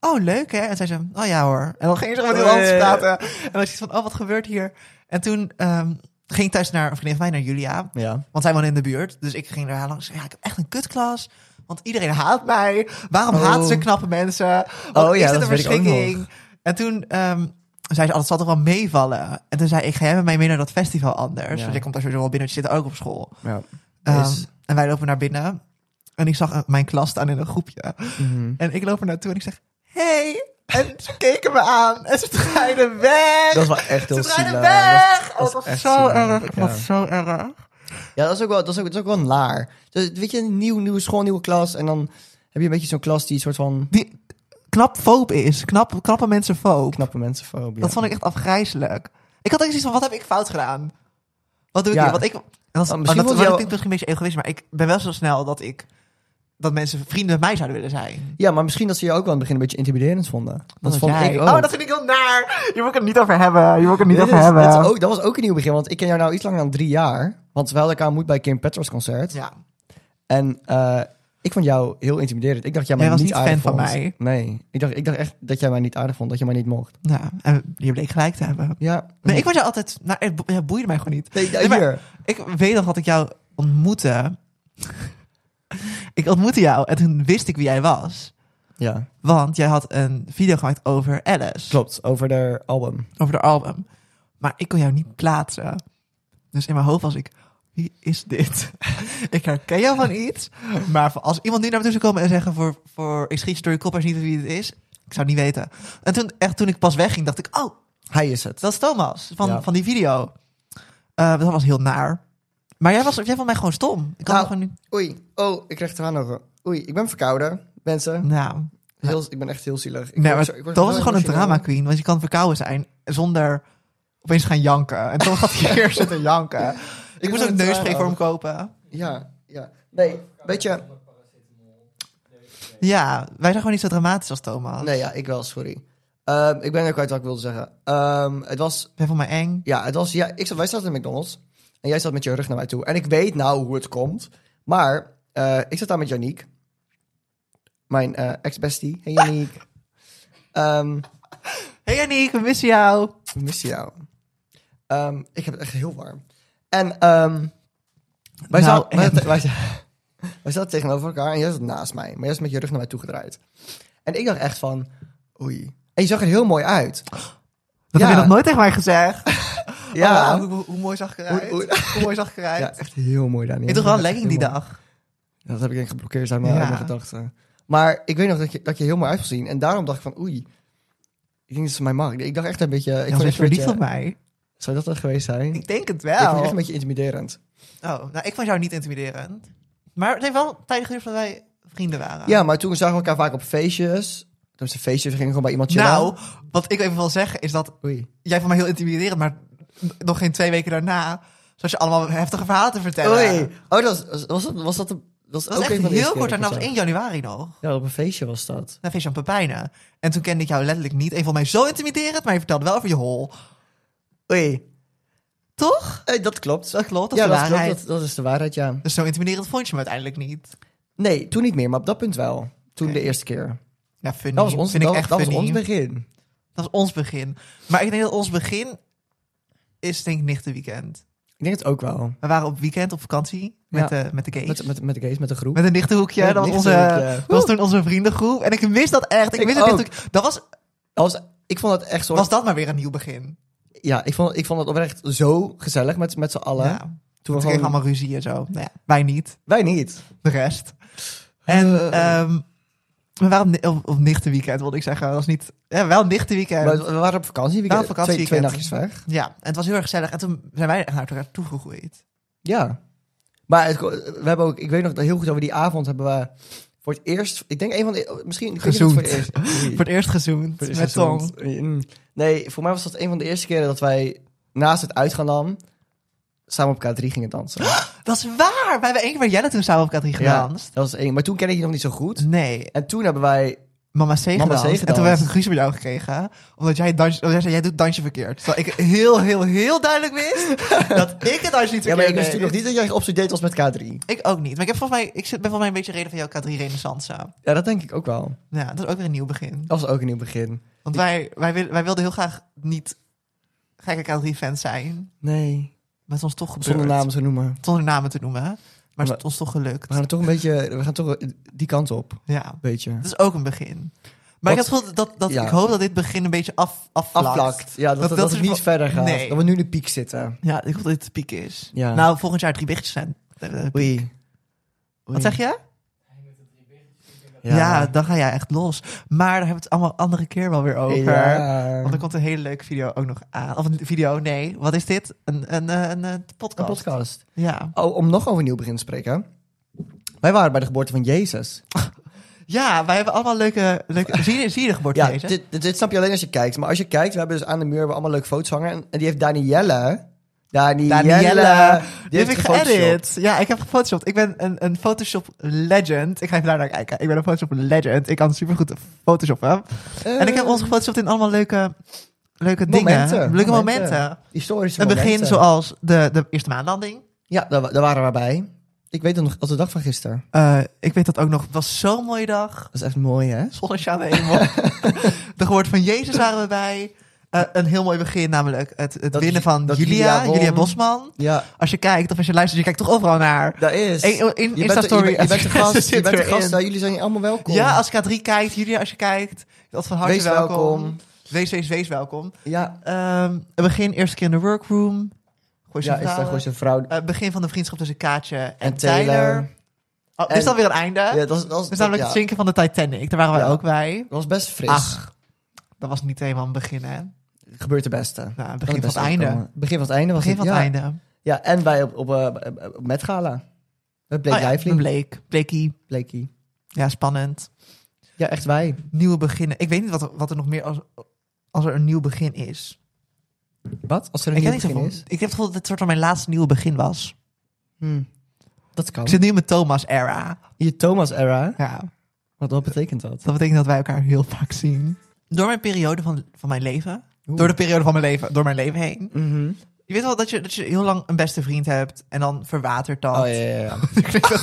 oh leuk hè? En zei ze, oh ja hoor. En dan ging ze gewoon heel
Oh, ja,
anders
ja, ja.
praten. En dan was ik van, oh wat gebeurt hier? En toen ehm, ging ik thuis naar een vriendin van mij, naar Julia.
Ja.
Want zij woonde in de buurt. Dus ik ging naar haar langs. Ja, ik heb echt een kutklas. Want iedereen haat mij. Waarom
Oh.
haat ze knappe mensen? Want
Oh ja,
is dit
dat
een
weet ik ook nog.
verschrikking? En toen ehm zei ze, oh, dat zal toch wel meevallen? En toen zei ik, ga jij met mij mee naar dat festival anders?
Ja.
Want je komt daar sowieso wel binnen, want je zit ook op school.
ja.
Ehm,
Is-
en wij lopen naar binnen. En ik zag een- mijn klas staan in een groepje.
Mhm.
En ik loop er naartoe en ik zeg, hey. En ze keken me aan. En ze draaiden weg.
Dat is wel echt heel
ze draaiden
zielig.
weg.
dat
Oh,
is
dat was
echt
zo
zielig, ja.
erg. Dat was zo erg.
Ja, dat is ook wel, dat is ook, dat is ook wel een laar. Dus, weet je, een nieuw, nieuwe school, nieuwe klas. En dan heb je een beetje zo'n klas die een soort van
die knap foob is. Knap, knappe mensen foob.
knappe mensenfobie.
Dat vond ik echt afgrijzelijk. Ik had ook zoiets van, wat heb ik fout gedaan? Wat doe ik
Ja.
hier? Wat ik... En dat,
Nou, misschien
oh, dat,
vond
dat
je wel-
klinkt misschien een beetje egoïst, maar ik ben wel zo snel dat ik... Dat mensen vrienden met mij zouden willen zijn.
Ja, maar misschien dat ze je ook wel in het begin een beetje intimiderend vonden. Dat,
was
vond
jij.
ik ook.
Oh, dat vind ik heel naar. Je moet het niet over hebben. Je moet het niet
Dit
over
is-
hebben.
dit is ook, dat was ook een nieuw begin, want ik ken jou nou iets langer dan drie jaar. Want we hadden elkaar ontmoet bij Kim Petras concert.
Ja.
En eh, ik vond jou heel intimiderend. Ik dacht, jij
Jij
mij
was
niet
niet
aardig
fan van
vond.
mij.
Nee, ik dacht, ik dacht echt dat jij mij niet aardig vond, dat je mij niet mocht.
ja. En je bleek gelijk te hebben.
Ja.
Nee, ik was jou altijd... Nou, het bo- het boeide mij gewoon niet.
Nee, ja,
Nee, maar-
hier.
Ik weet nog dat ik jou ontmoette. ik ontmoette jou en toen wist ik wie jij was.
Ja,
Want jij had een video gemaakt over Alice.
klopt. Over de album.
Over de album. Maar ik kon jou niet plaatsen. Dus in mijn hoofd was ik, wie is dit? ik herken jou van iets. Maar van- als iemand nu naar me toe zou komen en zeggen voor, voor ik schiet je door je kop als je niet weet wie het is. Ik zou het niet weten. En toen, echt, toen ik pas wegging, dacht ik, oh,
Hij is het.
dat is Thomas van,
Ja.
van die video. Eh, dat was heel naar. Maar jij, was, jij vond mij gewoon stom. Ik had
Nou.
gewoon niet...
Oei, oh, ik krijg eraan over. Oei, ik ben verkouden, mensen.
Nou,
Heel, ik ben echt heel zielig. Ik
nee,
word
maar
zo- ik word
dat
zo
was gewoon een
emotioneel.
drama queen. Want je kan verkouden zijn zonder opeens gaan janken. En toen had hij hier zitten janken. Ik
ben
moest ook
een
neusspray voor
drama.
hem kopen.
Ja, ja. Nee, weet je...
Ja, wij zijn gewoon niet zo dramatisch als Thomas.
Nee, ja, ik wel, sorry. Ehm, ik ben er kwijt wat ik wilde zeggen. Ehm, het was...
Wij vonden mij eng.
Ja, het was... Ja, ik zat, wij zaten in McDonald's. En jij zat met je rug naar mij toe. En ik weet nou hoe het komt. Maar eh, ik zat daar met Yannick. Mijn eh, ex-bestie. Hey Yannick. Ehm,
Hey Yannick, we missen jou.
Ik mis jou. Ehm, ik heb het echt heel warm. En ehm, wij,
Nou,
zaten, wij,
en?
zaten- wij, zaten- wij zaten tegenover elkaar en jij zat naast mij. Maar jij zat met je rug naar mij toegedraaid. En ik dacht echt van, oei. En je zag er heel mooi uit.
Dat
Ja.
heb je nog nooit tegen mij gezegd.
Ja,
Oh, hoe, hoe- hoe mooi zag ik eruit?
Hoe-
Hoe,
hoe-
mooi zag ik eruit?
ja echt heel mooi, Daniel.
Ik droeg wel een
Echt
legging die
heel mooi.
dag.
Ja, dat heb ik denk ik geblokkeerd uit mijn,
Ja.
uit mijn gedachten. Maar ik weet nog dat je, dat je heel mooi uit wil zien. En daarom dacht ik van, oei. Ik denk dat ze mij mag. Ik dacht echt een beetje... Ik
Ik was
vond
echt
echt een
verliefd op
beetje
mij.
zou dat er geweest zijn?
Ik denk het
ik vond je
wel.
echt een beetje intimiderend.
Oh, nou, ik vond jou niet intimiderend. Maar het heeft wel tijdig geduurd dat wij vrienden waren.
Ja, maar toen zagen we elkaar vaak op feestjes. Toen ze feestjes gingen gewoon bij iemand chillen.
nou, wat ik even wil zeggen is dat
Oei.
jij vond mij heel intimiderend, maar nog geen twee weken daarna zat je allemaal heftige verhalen te vertellen.
Oei. Oh, dat was, was dat, was dat, de- was
Dat
ook
was
een
echt
van de
heel
eerste
kort
keren
daarna,
dat
was
ik
1 januari nog.
zag. Ja, op een feestje was dat.
Na feestje aan Pepijnen. En toen kende ik jou letterlijk niet. En je vond mij zo intimiderend, maar je vertelde wel over je hol.
Oei.
Toch?
Eh, dat klopt.
Dat klopt, dat is
ja,
de
dat, klopt
waarheid.
dat, dat is de waarheid, ja.
Dus zo intimiderend vond je me uiteindelijk niet.
Nee, toen niet meer, maar op dat punt wel. Toen
Oké.
de eerste keer.
Ja, Nou, funny.
Dat was ons,
Vind
dat,
ik echt
dat was
funny.
ons begin.
Dat is ons begin. Maar ik denk dat ons begin is denk ik nicht de weekend.
Ik denk het ook wel.
We waren op weekend op vakantie met, de, met de gays.
Met,
Met,
met, met de gays, met de groep.
een nichtenhoekje.
Met
Dat was,
een
onze,
nichtenhoekje.
dat was toen onze vriendengroep. En ik mis dat echt. Ik,
Ik
mis het
ook.
nichtenhoekje. Dat was,
Dat was- ik vond het echt zo...
was dat maar weer een nieuw begin.
Ja, ik vond, ik vond het oprecht zo gezellig met, met z'n allen.
Ja. Toen
Toen we
kregen we
gewoon...
allemaal ruzie en zo. Nou ja, wij niet.
Wij niet.
De rest. En
Eh.
ehm, we waren op ni- op, op nichtenweekend, wilde ik zeggen. Dat was niet... Ja, wel nichtenweekend.
Maar we waren op vakantie. We
waren op vakantie
Twee, twee
weekend.
nachtjes weg.
Ja, en het was heel erg gezellig. En toen zijn wij echt naar elkaar toegegroeid.
Ja. Maar het, we hebben ook, ik weet nog dat heel goed over die avond hebben we voor het eerst, ik denk een van de, misschien ik weet niet of het
Gezoend.
Voor het eerst,
Voor het eerst gezoend
Voor het
met
eerst
Tom.
gezond. Mm. Nee, voor mij was dat een van de eerste keren dat wij naast het uitgaan samen op K3 gingen dansen.
Dat is waar. Wij hebben één keer bij Jelle toen samen op K3 gedanst.
dat was één. Maar toen kende ik je nog niet zo goed.
Nee,
En toen hebben wij,
Mama C gedanst. En
gedanst.
toen hebben we een ruzie bij jou gekregen. Omdat jij, dans, omdat jij zei, jij doet dansje verkeerd. Terwijl ik heel, heel, heel duidelijk wist dat ik het dansje niet verkeerd
ja, maar ik wist
deed.
toen nog niet dat jij op z'n date was met K3.
Ik ook niet. Maar ik, heb volgens mij, ik zit- ben volgens mij een beetje reden van jouw K3 renaissance.
Ja, dat denk ik ook wel.
Ja, dat is ook weer een nieuw begin.
Dat was ook een nieuw begin.
Want wij, wij, wil- wij wilden heel graag niet gekke K3-fans zijn.
Nee,
Maar het is ons toch gebeurd.
zonder namen te noemen.
Zonder namen te noemen. Maar het is
Maar-
ons toch
We
gelukt.
gaan er toch een beetje, we gaan toch die kant op, een
Ja.
beetje.
Dat is ook een begin. Maar ik,
Wat-
had het gevoel dat, dat,
ja.
ik hoop dat dit begin een beetje af, afvlakt.
afplakt. Ja, dat, dat,
Dat- dat
dat
is
het niet
wel-
verder gaat.
Nee.
Dat we nu in de piek zitten.
Ja, ik hoop dat dit de piek is.
Ja.
Nou, volgend jaar drie biggetjes zijn. eh, eh,
Oei.
Wat zeg je? Ja.
Ja.
dan ga jij echt los. Maar daar hebben we het allemaal andere keer wel weer over.
Ja.
Want er komt een hele leuke video ook nog aan. Of een video, nee. Wat is dit? Een, een, eh, een, eh,
Een
podcast.
podcast.
Ja.
Oh, om nog over nieuw begin te spreken. Wij waren bij de geboorte van Jezus.
ja, wij hebben allemaal leuke... leuke zie, je, zie je de geboorte
Ja,
deze?
dit, dit, dit snap je alleen als je kijkt. Maar als je kijkt, we hebben dus aan de muur hebben we allemaal leuke foto's hangen. En, en die heeft Danielle. Danielle.
Danielle.
Die
Die heb
heeft
ik
gefotoshopt.
geëdit. Ja, ik heb gefotoshopt. Ik ben een, een Photoshop legend. Ik ga even daar naar kijken. Ik ben een Photoshop legend. Ik kan supergoed photoshoppen.
Eh,
en ik heb ons gefotoshopt in allemaal leuke, leuke dingen.
Momenten.
Leuke momenten.
Momenten. Eh, Historische
Een begin
momenten.
zoals de, de eerste maanlanding.
Ja, daar, wa- daar waren we bij. Ik weet het nog als de dag van gisteren.
Eh, ik weet dat ook nog. Het was zo'n mooie dag.
Dat is echt mooi, hè?
Zonnesjaan hemel. de geboorte van Jezus waren we bij. Eh, een heel mooi begin, namelijk het, het
Dat
winnen
Ju-
van
dat
Julia,
Julia
Julia,
won.
Bosman.
Ja,
Als je kijkt of als je luistert, je kijkt toch overal naar.
dat is.
In- in-
je, bent, de-
Insta-story.
je, bent- je bent de gast.
oh, Ze
Je bent de
zit erin.
gast. Nou, jullie zijn allemaal welkom.
Ja, als ik K3 kijkt, jullie als je kijkt, dat van harte
Wees
welkom.
welkom.
Wees, wees, wees welkom.
Ja,
Ehm, het begin eerste keer in de workroom. Gooise
ja is
vrouwen.
daar gewoon zijn vrouw.
Eh, begin van de vriendschap tussen Kaatje en,
En
Tyler.
Taylor.
Oh,
En-
is dat weer een einde?
Ja, dat was, dat was,
dus namelijk
ja,
het zinken van de Titanic. Daar waren wij
Ja.
ook bij.
dat was best fris.
Ach, dat was niet helemaal een begin, hè?
Gebeurt de beste.
Nou, het
Kan
begin van
beste
het einde.
uitkomen. Begin van het einde was
Begin
het,
van het
ja.
einde.
Ja, en bij op, op, eh, op Met Gala. Met Blake
Oh ja,
Lively.
Blake. Blakey.
Blakey.
Ja, spannend.
Ja, echt wij.
Nieuwe beginnen. Ik weet niet wat er, wat er nog meer als, als er een nieuw begin is.
Wat? Als er
ik,
een
heb
nieuw
niet
begin
zoveel-
is?
ik heb het gevoel dat dit soort van mijn laatste nieuwe begin was.
Hmm. Dat kan.
Ik zit nu in mijn Thomas-era.
Je Thomas-era.
Ja,
Wat, wat betekent dat?
dat betekent dat wij elkaar heel vaak zien. Door mijn periode van, van mijn leven. Door de periode van mijn leven. Door mijn leven heen.
Mhm.
Je weet wel dat je, dat je heel lang een beste vriend hebt. En dan verwatert dat.
Oh, ja, ja, ja.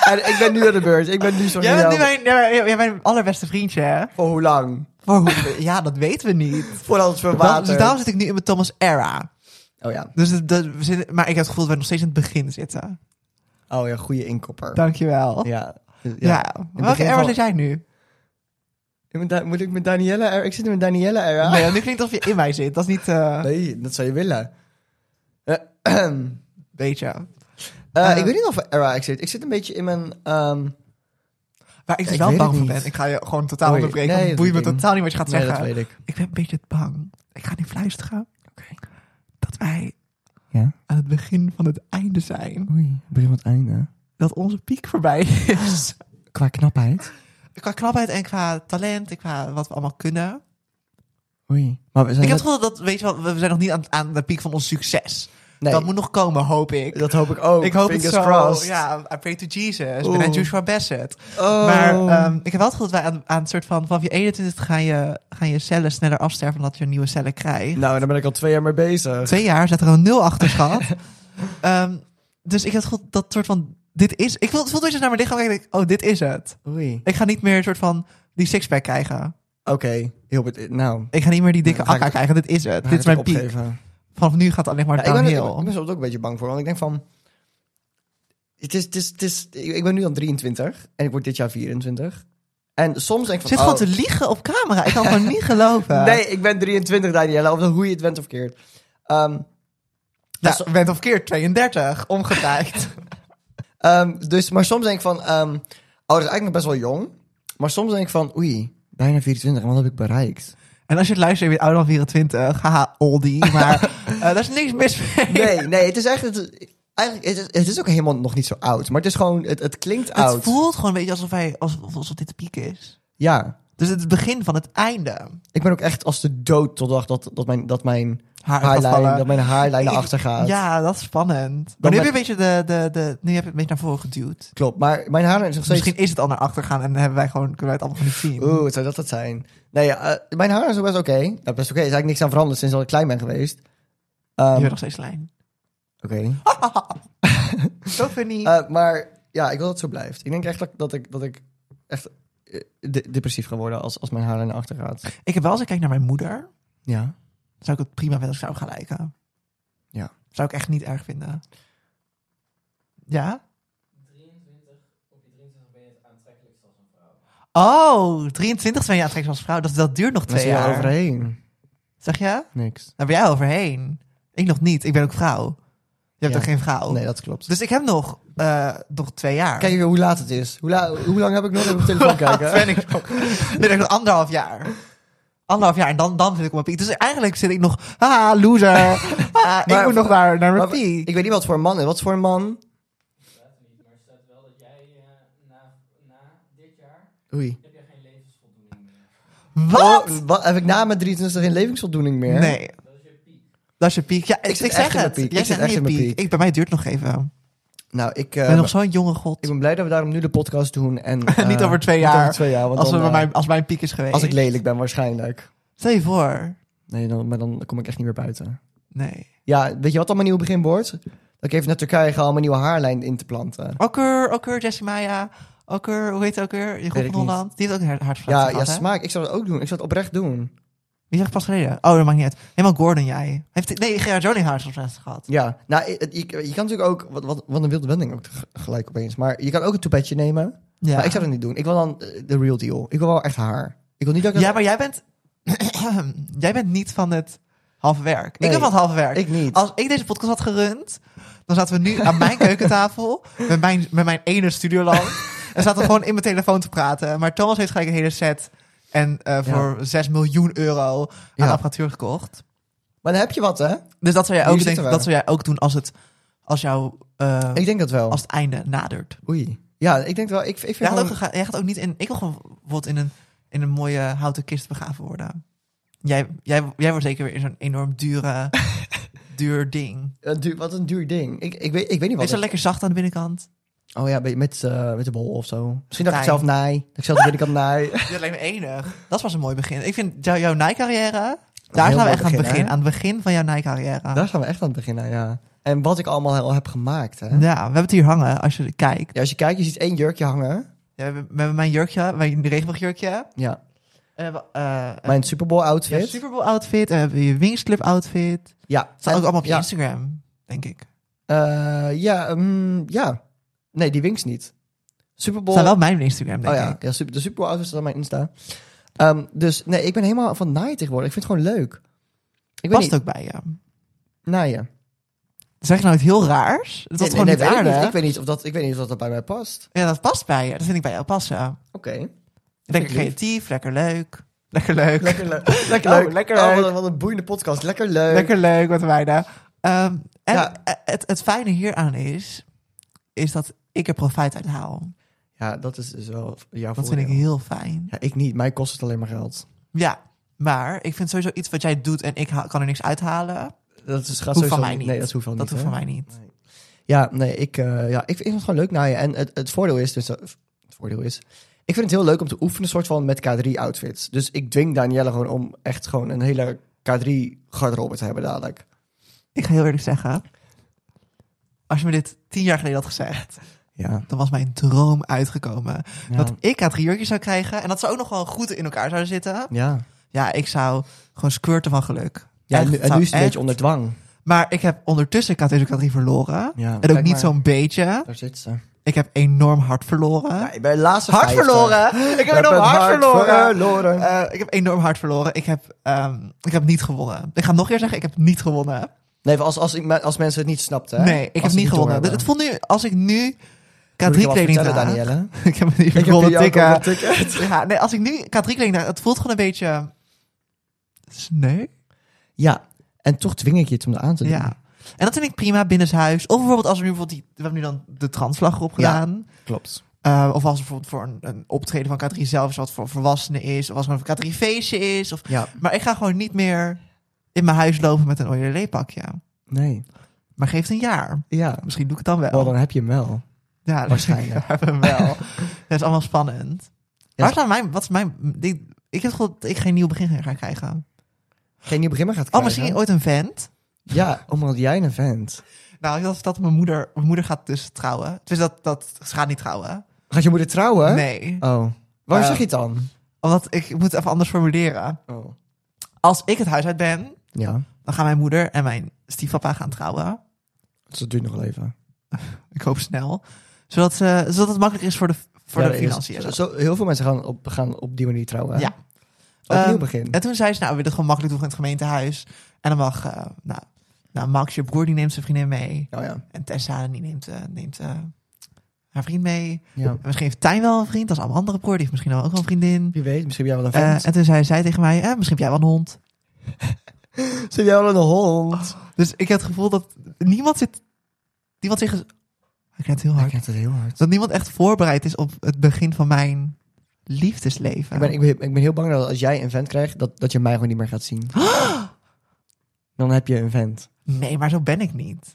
en ik ben nu aan de beurt. Ik ben nu zo
Jij bent nu
heel-
mijn, jij bent- jij bent mijn allerbeste vriendje, hè?
Voor hoe lang?
Maar hoe- ja, dat weten we niet.
Voordat het
Dan,
verwatert.
dus daarom zit ik nu in mijn Thomas era.
Oh ja.
Dus dat, dat- we zitten, maar ik heb het gevoel dat we nog steeds in het begin zitten.
Oh ja, goede inkopper.
Dankjewel. Ja.
Ja. Ja.
Welke
begin
era
van-
zit jij nu?
Ik ben Da- moet ik met Daniela era? Ik zit in mijn Daniela era.
Nee, nu klinkt alsof je in mij zit. Dat is niet... eh
Nee, dat zou je willen. Eh,
weet je.
eh,
Eh,
ik weet niet of era ik zit. Ik zit een beetje in mijn... ehm,
Waar ik dus
Ik
wel
weet
bang
het
voor
niet.
ben. Ik ga je gewoon totaal
Oei,
onderbreken.
nee,
want het boeit me
dat weet ik
totaal niet wat je gaat
nee, dat
zeggen.
weet ik.
Ik ben een beetje bang. Ik ga nu fluisteren. Dat wij
Ja.
aan het begin van het einde zijn.
Oei, begin van het einde.
Dat onze piek voorbij is.
Qua knapheid.
Qua knapheid en qua talent en qua wat we allemaal kunnen.
Oei. Maar we zijn
Ik heb
net-
het gevoel dat, weet je wel, we zijn nog niet aan, aan de piek van ons succes.
Nee.
Dat moet nog komen, hoop ik.
Dat hoop ik ook.
ik hoop
Fingers
het zo.
crossed.
Ja, I pray to Jesus. Ik
Oeh.
ben aan Joshua Bassett.
Oh.
Maar ehm, ik heb wel het gevoel dat wij aan, aan het soort van... Vanaf je 21 gaan je, gaan je cellen sneller afsterven dan dat je nieuwe cellen krijgt.
Nou, daar ben ik al twee jaar mee bezig.
Twee jaar zet er een nul achter, schat. Ehm, dus ik heb het gevoel dat soort van... Dit is... Ik voel, het voelt dat je naar mijn lichaam kijkt en denk ik, oh, dit is het.
Oei.
Ik ga niet meer een soort van die sixpack krijgen.
Oké, heel bet- Nou,
Ik ga niet meer die dikke
Dan ga ik
akka krijgen. Dit is het. Dit is mijn
mijn
piek. Vanaf nu gaat het alleen maar
ik ben,
downhill.
ik ben soms ook een beetje bang voor, want ik denk van... Het is, het is, het is, ik ik ben nu dan 23 en ik word dit jaar 24. En soms denk ik van...
Ik zit
oh,
gewoon te liegen op camera. Ik kan het gewoon niet geloven. Nou,
Nee, ik ben 23, Daniela, of dan hoe je het went of keert. Ehm,
Nou, je bent of keer 32, omgedraaid.
ehm, dus, maar soms denk ik van... ehm, oh, dat is eigenlijk nog best wel jong. Maar soms denk ik van, oei, bijna 24, wat heb ik bereikt?
en als je het luistert, je bent ouder dan 24. Haha, oldie. Maar eh, daar is niks mis mee.
Nee, nee, het is echt... Het, eigenlijk, het is, het is ook helemaal nog niet zo oud. Maar het is gewoon, het, het klinkt
het
oud.
voelt gewoon een beetje alsof, wij, alsof, alsof dit de piek is.
Ja,
Dus het is het begin van het einde.
ik ben ook echt als de dood tot de dag dat, dat mijn... Dat mijn
Haar gaat
haarlijn,
vallen.
dat mijn haarlijn naar
Ik-
achter gaat.
Ja, dat is spannend. Maar
Dan
nu
met-
heb je een beetje de, de, de, nu heb je een beetje naar voren geduwd.
Klopt, maar mijn haarlijn is nog steeds...
Misschien is het al naar achter gaan en hebben wij gewoon, kunnen wij het allemaal niet zien.
Oeh, wat zou dat dat zijn? Nee, ja, eh, mijn haar is nog best oké. Nou, best oké. Er is eigenlijk niks aan veranderd sinds dat ik klein ben geweest. Ehm,
Je bent
oké.
nog steeds klein. Zo funny.
Eh, maar ja, ik wil dat het zo blijft. Ik denk echt dat, dat ik, dat ik echt eh, de- depressief ga worden als, als mijn haarlijn naar achter gaat.
ik heb wel eens gekeken naar mijn moeder.
Ja.
Zou ik het prima vinden als ik zou gaan lijken?
Ja.
Zou ik echt niet erg vinden. Ja? 23, op je 23 Oh, ben je aantrekkelijk als een vrouw. Oh, 23 ben je aantrekkelijk als vrouw. Dat, dat duurt nog
Daar
twee
zie je
jaar.
overheen.
Zeg je?
Niks.
Daar ben jij overheen. Ik nog niet. Ik ben ook vrouw. Je hebt
Ja.
ook geen vrouw.
Oh. Nee, dat klopt.
Dus ik heb nog, eh, nog twee jaar.
Kijk weer hoe laat het is. Hoe, la- hoe lang heb ik nog even op mijn telefoon kijken?
ben ik nog. Dan ben ik nog anderhalf jaar. Anderhalf jaar en dan, dan zit ik op mijn piek. Dus eigenlijk zit ik nog, ah, loser. Ah, ik
Maar-
moet nog naar, naar mijn
Maar
piek.
ik weet niet wat voor een man is. Wat voor een man?
staat niet, maar er staat wel dat jij eh, na, na dit jaar
Oei.
heb jij geen levensvoldoening meer.
Wat?
Oh, wat? Heb ik na mijn 23 geen levensvoldoening meer?
Nee.
Dat is je piek.
Dat is je piek. Ja, ik,
zit
ik zeg
echt in mijn
het.
piek.
Jij
Ik zit
zegt niet
echt
je
in mijn
piek.
piek.
Ik, bij mij duurt nog even.
Nou, ik...
ik
eh,
ben nog zo'n jonge god.
Ik ben blij dat we daarom nu de podcast doen. En,
Niet
eh,
over twee
niet
jaar.
over twee jaar, want
als,
dan,
we bij
eh,
mijn, als mijn piek is geweest.
als ik lelijk ben waarschijnlijk.
Stel je voor.
Nee, dan, maar dan kom ik echt niet meer buiten.
Nee.
Ja, weet je wat dan mijn nieuw begin wordt? Dat ik even naar Turkije ga om mijn nieuwe haarlijn in te planten.
Okker, okker, Jessie Maya. Okker, hoe heet het okker? Je
Weet
groep
ik
van Holland. Die heeft ook een hartverlaat
Ja, ja,
gehad, hè?
smaak. Ik zou dat ook doen. Ik zou het oprecht doen.
Wie zegt pas geleden? Oh, dat maakt niet uit. Helemaal Gordon, jij. Heeft, nee, Gerard Joling heeft hartverlaat gehad.
Ja, nou, je, je- je kan natuurlijk ook... Wat, wat, wat een wilde wending ook teg- gelijk opeens. Maar je kan ook een toepetje nemen.
Ja.
Maar ik zou dat niet doen. Ik wil dan eh, de real deal. Ik wil wel echt haar. Ik wil niet dat ik...
ja, maar jij bent... jij bent niet van het halve werk.
Nee,
ik ben van het halve werk.
ik niet.
Als ik deze podcast had gerund, dan zaten we nu aan mijn keukentafel met mijn, met mijn ene studiolamp. en zaten we gewoon in mijn telefoon te praten. Maar Thomas heeft gelijk een hele set en eh, voor 6 miljoen euro aan
Ja.
apparatuur gekocht.
Maar dan heb je wat, hè?
Dus dat zou jij
Hier
ook
zitten
denken,
we.
dat zou jij ook doen als het als jouw eh,
Ik denk dat wel.
als het einde nadert.
Oei. Ja, ik denk wel. Ik, ik vind
Jij gaat, ook,
gewoon-
gega- jij gaat ook niet in. Ik wil gewoon bijvoorbeeld in een, in een mooie houten kist begraven worden. Jij, jij, jij wordt zeker weer in zo'n enorm dure, duur ding.
een duur- wat een duur ding. Ik, ik, weet, ik weet niet wat.
Is dat
het-
lekker zacht aan de binnenkant?
Oh ja, met, met, eh, met de bol of zo. Misschien dat ik het
Naai.
zelf naai. Dat ik zelf de binnenkant naai.
Ja, dat lijkt me enig. Dat was een mooi begin. Ik vind jou- jouw Nike-carrière. Daar
heel
gaan we
mooi
echt aan het
begin,
begin.
hè?
Aan het begin van jouw Nike-carrière.
Daar gaan we echt aan het begin aan, ja. En wat ik allemaal al heb gemaakt, hè.
Ja, we hebben het hier hangen als je kijkt.
Ja, als je kijkt, je ziet één jurkje hangen.
Ja, we, hebben, we hebben mijn jurkje, mijn regenboogjurkje.
Ja.
We hebben eh, een
Mijn Super Bowl outfit. Ja,
Super Bowl outfit. En we hebben je Wings Club outfit. Het staat
En-
ook allemaal op je
ja.
Instagram, denk ik.
Eh, ja, mm, ja. Nee, die winks niet. Super Bowl.
Het staat wel op mijn Instagram, denk
oh ja,
ik.
ja super, de Super Bowl outfit staat op mijn Insta. Ehm, dus nee, ik ben helemaal van naaien tegenwoordig. Ik vind het gewoon leuk. Ik weet
Past
niet,
ook bij je.
naaien.
Zeg nou iets heel raars? Dat was
Nee,
gewoon
nee,
niet
weet ik
aardig.
Ik weet niet of dat, ik weet niet of dat bij mij past.
Ja, dat past bij je. Dat vind ik bij jou passen.
Oké.
Lekker
vind ik lief.
creatief, lekker leuk. Lekker leuk.
Lekker leuk. lekker
Oh,
leuk.
lekker
Oh,
leuk.
wat, een, wat een boeiende podcast. Lekker leuk.
Lekker leuk, wat wij daar. Ehm, en
Ja.
eh, het, het fijne hieraan is, is dat ik er profijt uit haal.
Ja, dat is dus wel jouw
Dat vind
voordeel.
ik heel fijn.
Ja, ik niet. Mij kost het alleen maar geld.
Ja, maar ik vind sowieso iets wat jij doet en ik ha- kan er niks uithalen.
Dat is, gaat
Hoeft
sowieso
van mij niet.
Nee, dat hoeft wel
Dat
niet.
hoeft
hè?
van mij niet.
Ja, nee, ik, eh, ja, ik, ik vind het gewoon leuk naar je. En het, het voordeel is, dus, eh, het voordeel is, ik vind het heel leuk om te oefenen, soort van met K3-outfits. Dus ik dwing Danielle gewoon om echt gewoon een hele K3-garderobe te hebben dadelijk.
Ik ga heel eerlijk zeggen, als je me dit tien jaar geleden had gezegd,
Ja.
dan was mijn droom uitgekomen.
Ja.
Dat ik aan jurkjes zou krijgen en dat ze ook nog wel goed in elkaar zouden zitten.
ja.
Ja, ik zou gewoon squirten van geluk.
ja en
Echt,
nu, en
zou
nu is het een
echt-
beetje onder dwang.
Maar ik heb ondertussen ik had deze categorie verloren.
Ja.
en ook
Kijk
niet
maar.
zo'n beetje.
Daar zit ze.
Ik heb enorm hard verloren.
Ja, ik ben de laatste
hard
vijfde.
verloren! Ik heb enorm
mijn
hard, verloren!
verloren.
Eh, ik heb enorm hard verloren. Ik heb, ehm, ik heb niet gewonnen. Ik ga nog keer zeggen, ik heb niet gewonnen.
nee, als, als, ik me- als mensen het niet snapten. hè?
Nee, ik
Als
heb
ze
niet gewonnen.
doorhebben.
Dus het voelt nu, als ik nu
Moet ik je
K3
wat
kleding
vertellen,
draag...
Danielle.
ik heb me niet
Ik heb
verbonden
hier ook
tikken.
al een ticket.
Ja, nee, als ik nu K3 kleding draag, het voelt gewoon een beetje... eh, Sneu?
Ja, en toch dwing ik je het om er aan te doen.
Ja. En dat vind ik prima binnenshuis. Of bijvoorbeeld als we nu bijvoorbeeld die, we hebben nu dan de transvlag erop
Ja.
gedaan.
klopt.
Eh, of als er bijvoorbeeld voor een, een optreden van K3 zelf is wat voor volwassenen is. Of als er een K3 feestje is. Of,
Ja,
maar ik ga gewoon niet meer in mijn huis lopen met een ojelé pakje.
nee.
Maar geeft een jaar.
Ja,
Misschien doe ik het dan wel.
wel, dan heb je hem wel.
ja, dat
waarschijnlijk.
hebben we wel. dat is allemaal spannend. Waar staat mijn, wat is mijn, die- ik heb het gevoel dat ik geen nieuw begin ga krijgen.
Geen nieuw begin meer gaat
Oh,
krijgen.
misschien ooit een vent.
Ja, omdat jij een vent.
Nou, dat is dat mijn moeder, mijn moeder gaat dus trouwen. Dus dat, dat, ze gaat niet trouwen.
Gaat je moeder trouwen?
Nee.
Oh. Waarom
Ja.
zeg je het dan?
Omdat ik moet het even anders formuleren.
Oh.
Als ik het huis uit ben,
Ja,
dan gaan mijn moeder en mijn stiefpapa gaan trouwen.
Dus dat duurt nog wel even.
Ik hoop snel. Zodat, ze, zodat het makkelijk is voor de, voor
Ja,
de
dat is-
financiën.
Zo, zo- heel veel mensen gaan op, gaan op die manier trouwen. hè?
Ja.
Ook
Ehm,
nieuw begin.
En toen zei ze, nou, we willen het gewoon makkelijk doen in het gemeentehuis. En dan mag, eh, nou, nou, Max, je broer, die neemt zijn vriendin mee.
Oh ja.
En Tessa, die neemt, eh, neemt eh, haar vriend mee.
ja.
En misschien heeft Tijn wel een vriend, dat is allemaal andere broer. Die heeft misschien ook wel een vriendin.
Wie weet, misschien heb jij wel een
Eh,
vent.
en toen zei zij tegen mij, eh, misschien heb jij wel een hond.
misschien heb jij wel een hond.
Dus ik heb het gevoel dat niemand zit. Niemand zich. Ik het heel
ik
hard.
kent het heel hard.
Dat niemand echt voorbereid is op het begin van mijn liefdesleven.
Ik ben, ik, ben, ik ben heel bang dat als jij een vent krijgt, dat, dat je mij gewoon niet meer gaat zien. Dan heb je een vent.
Nee, maar zo ben ik niet.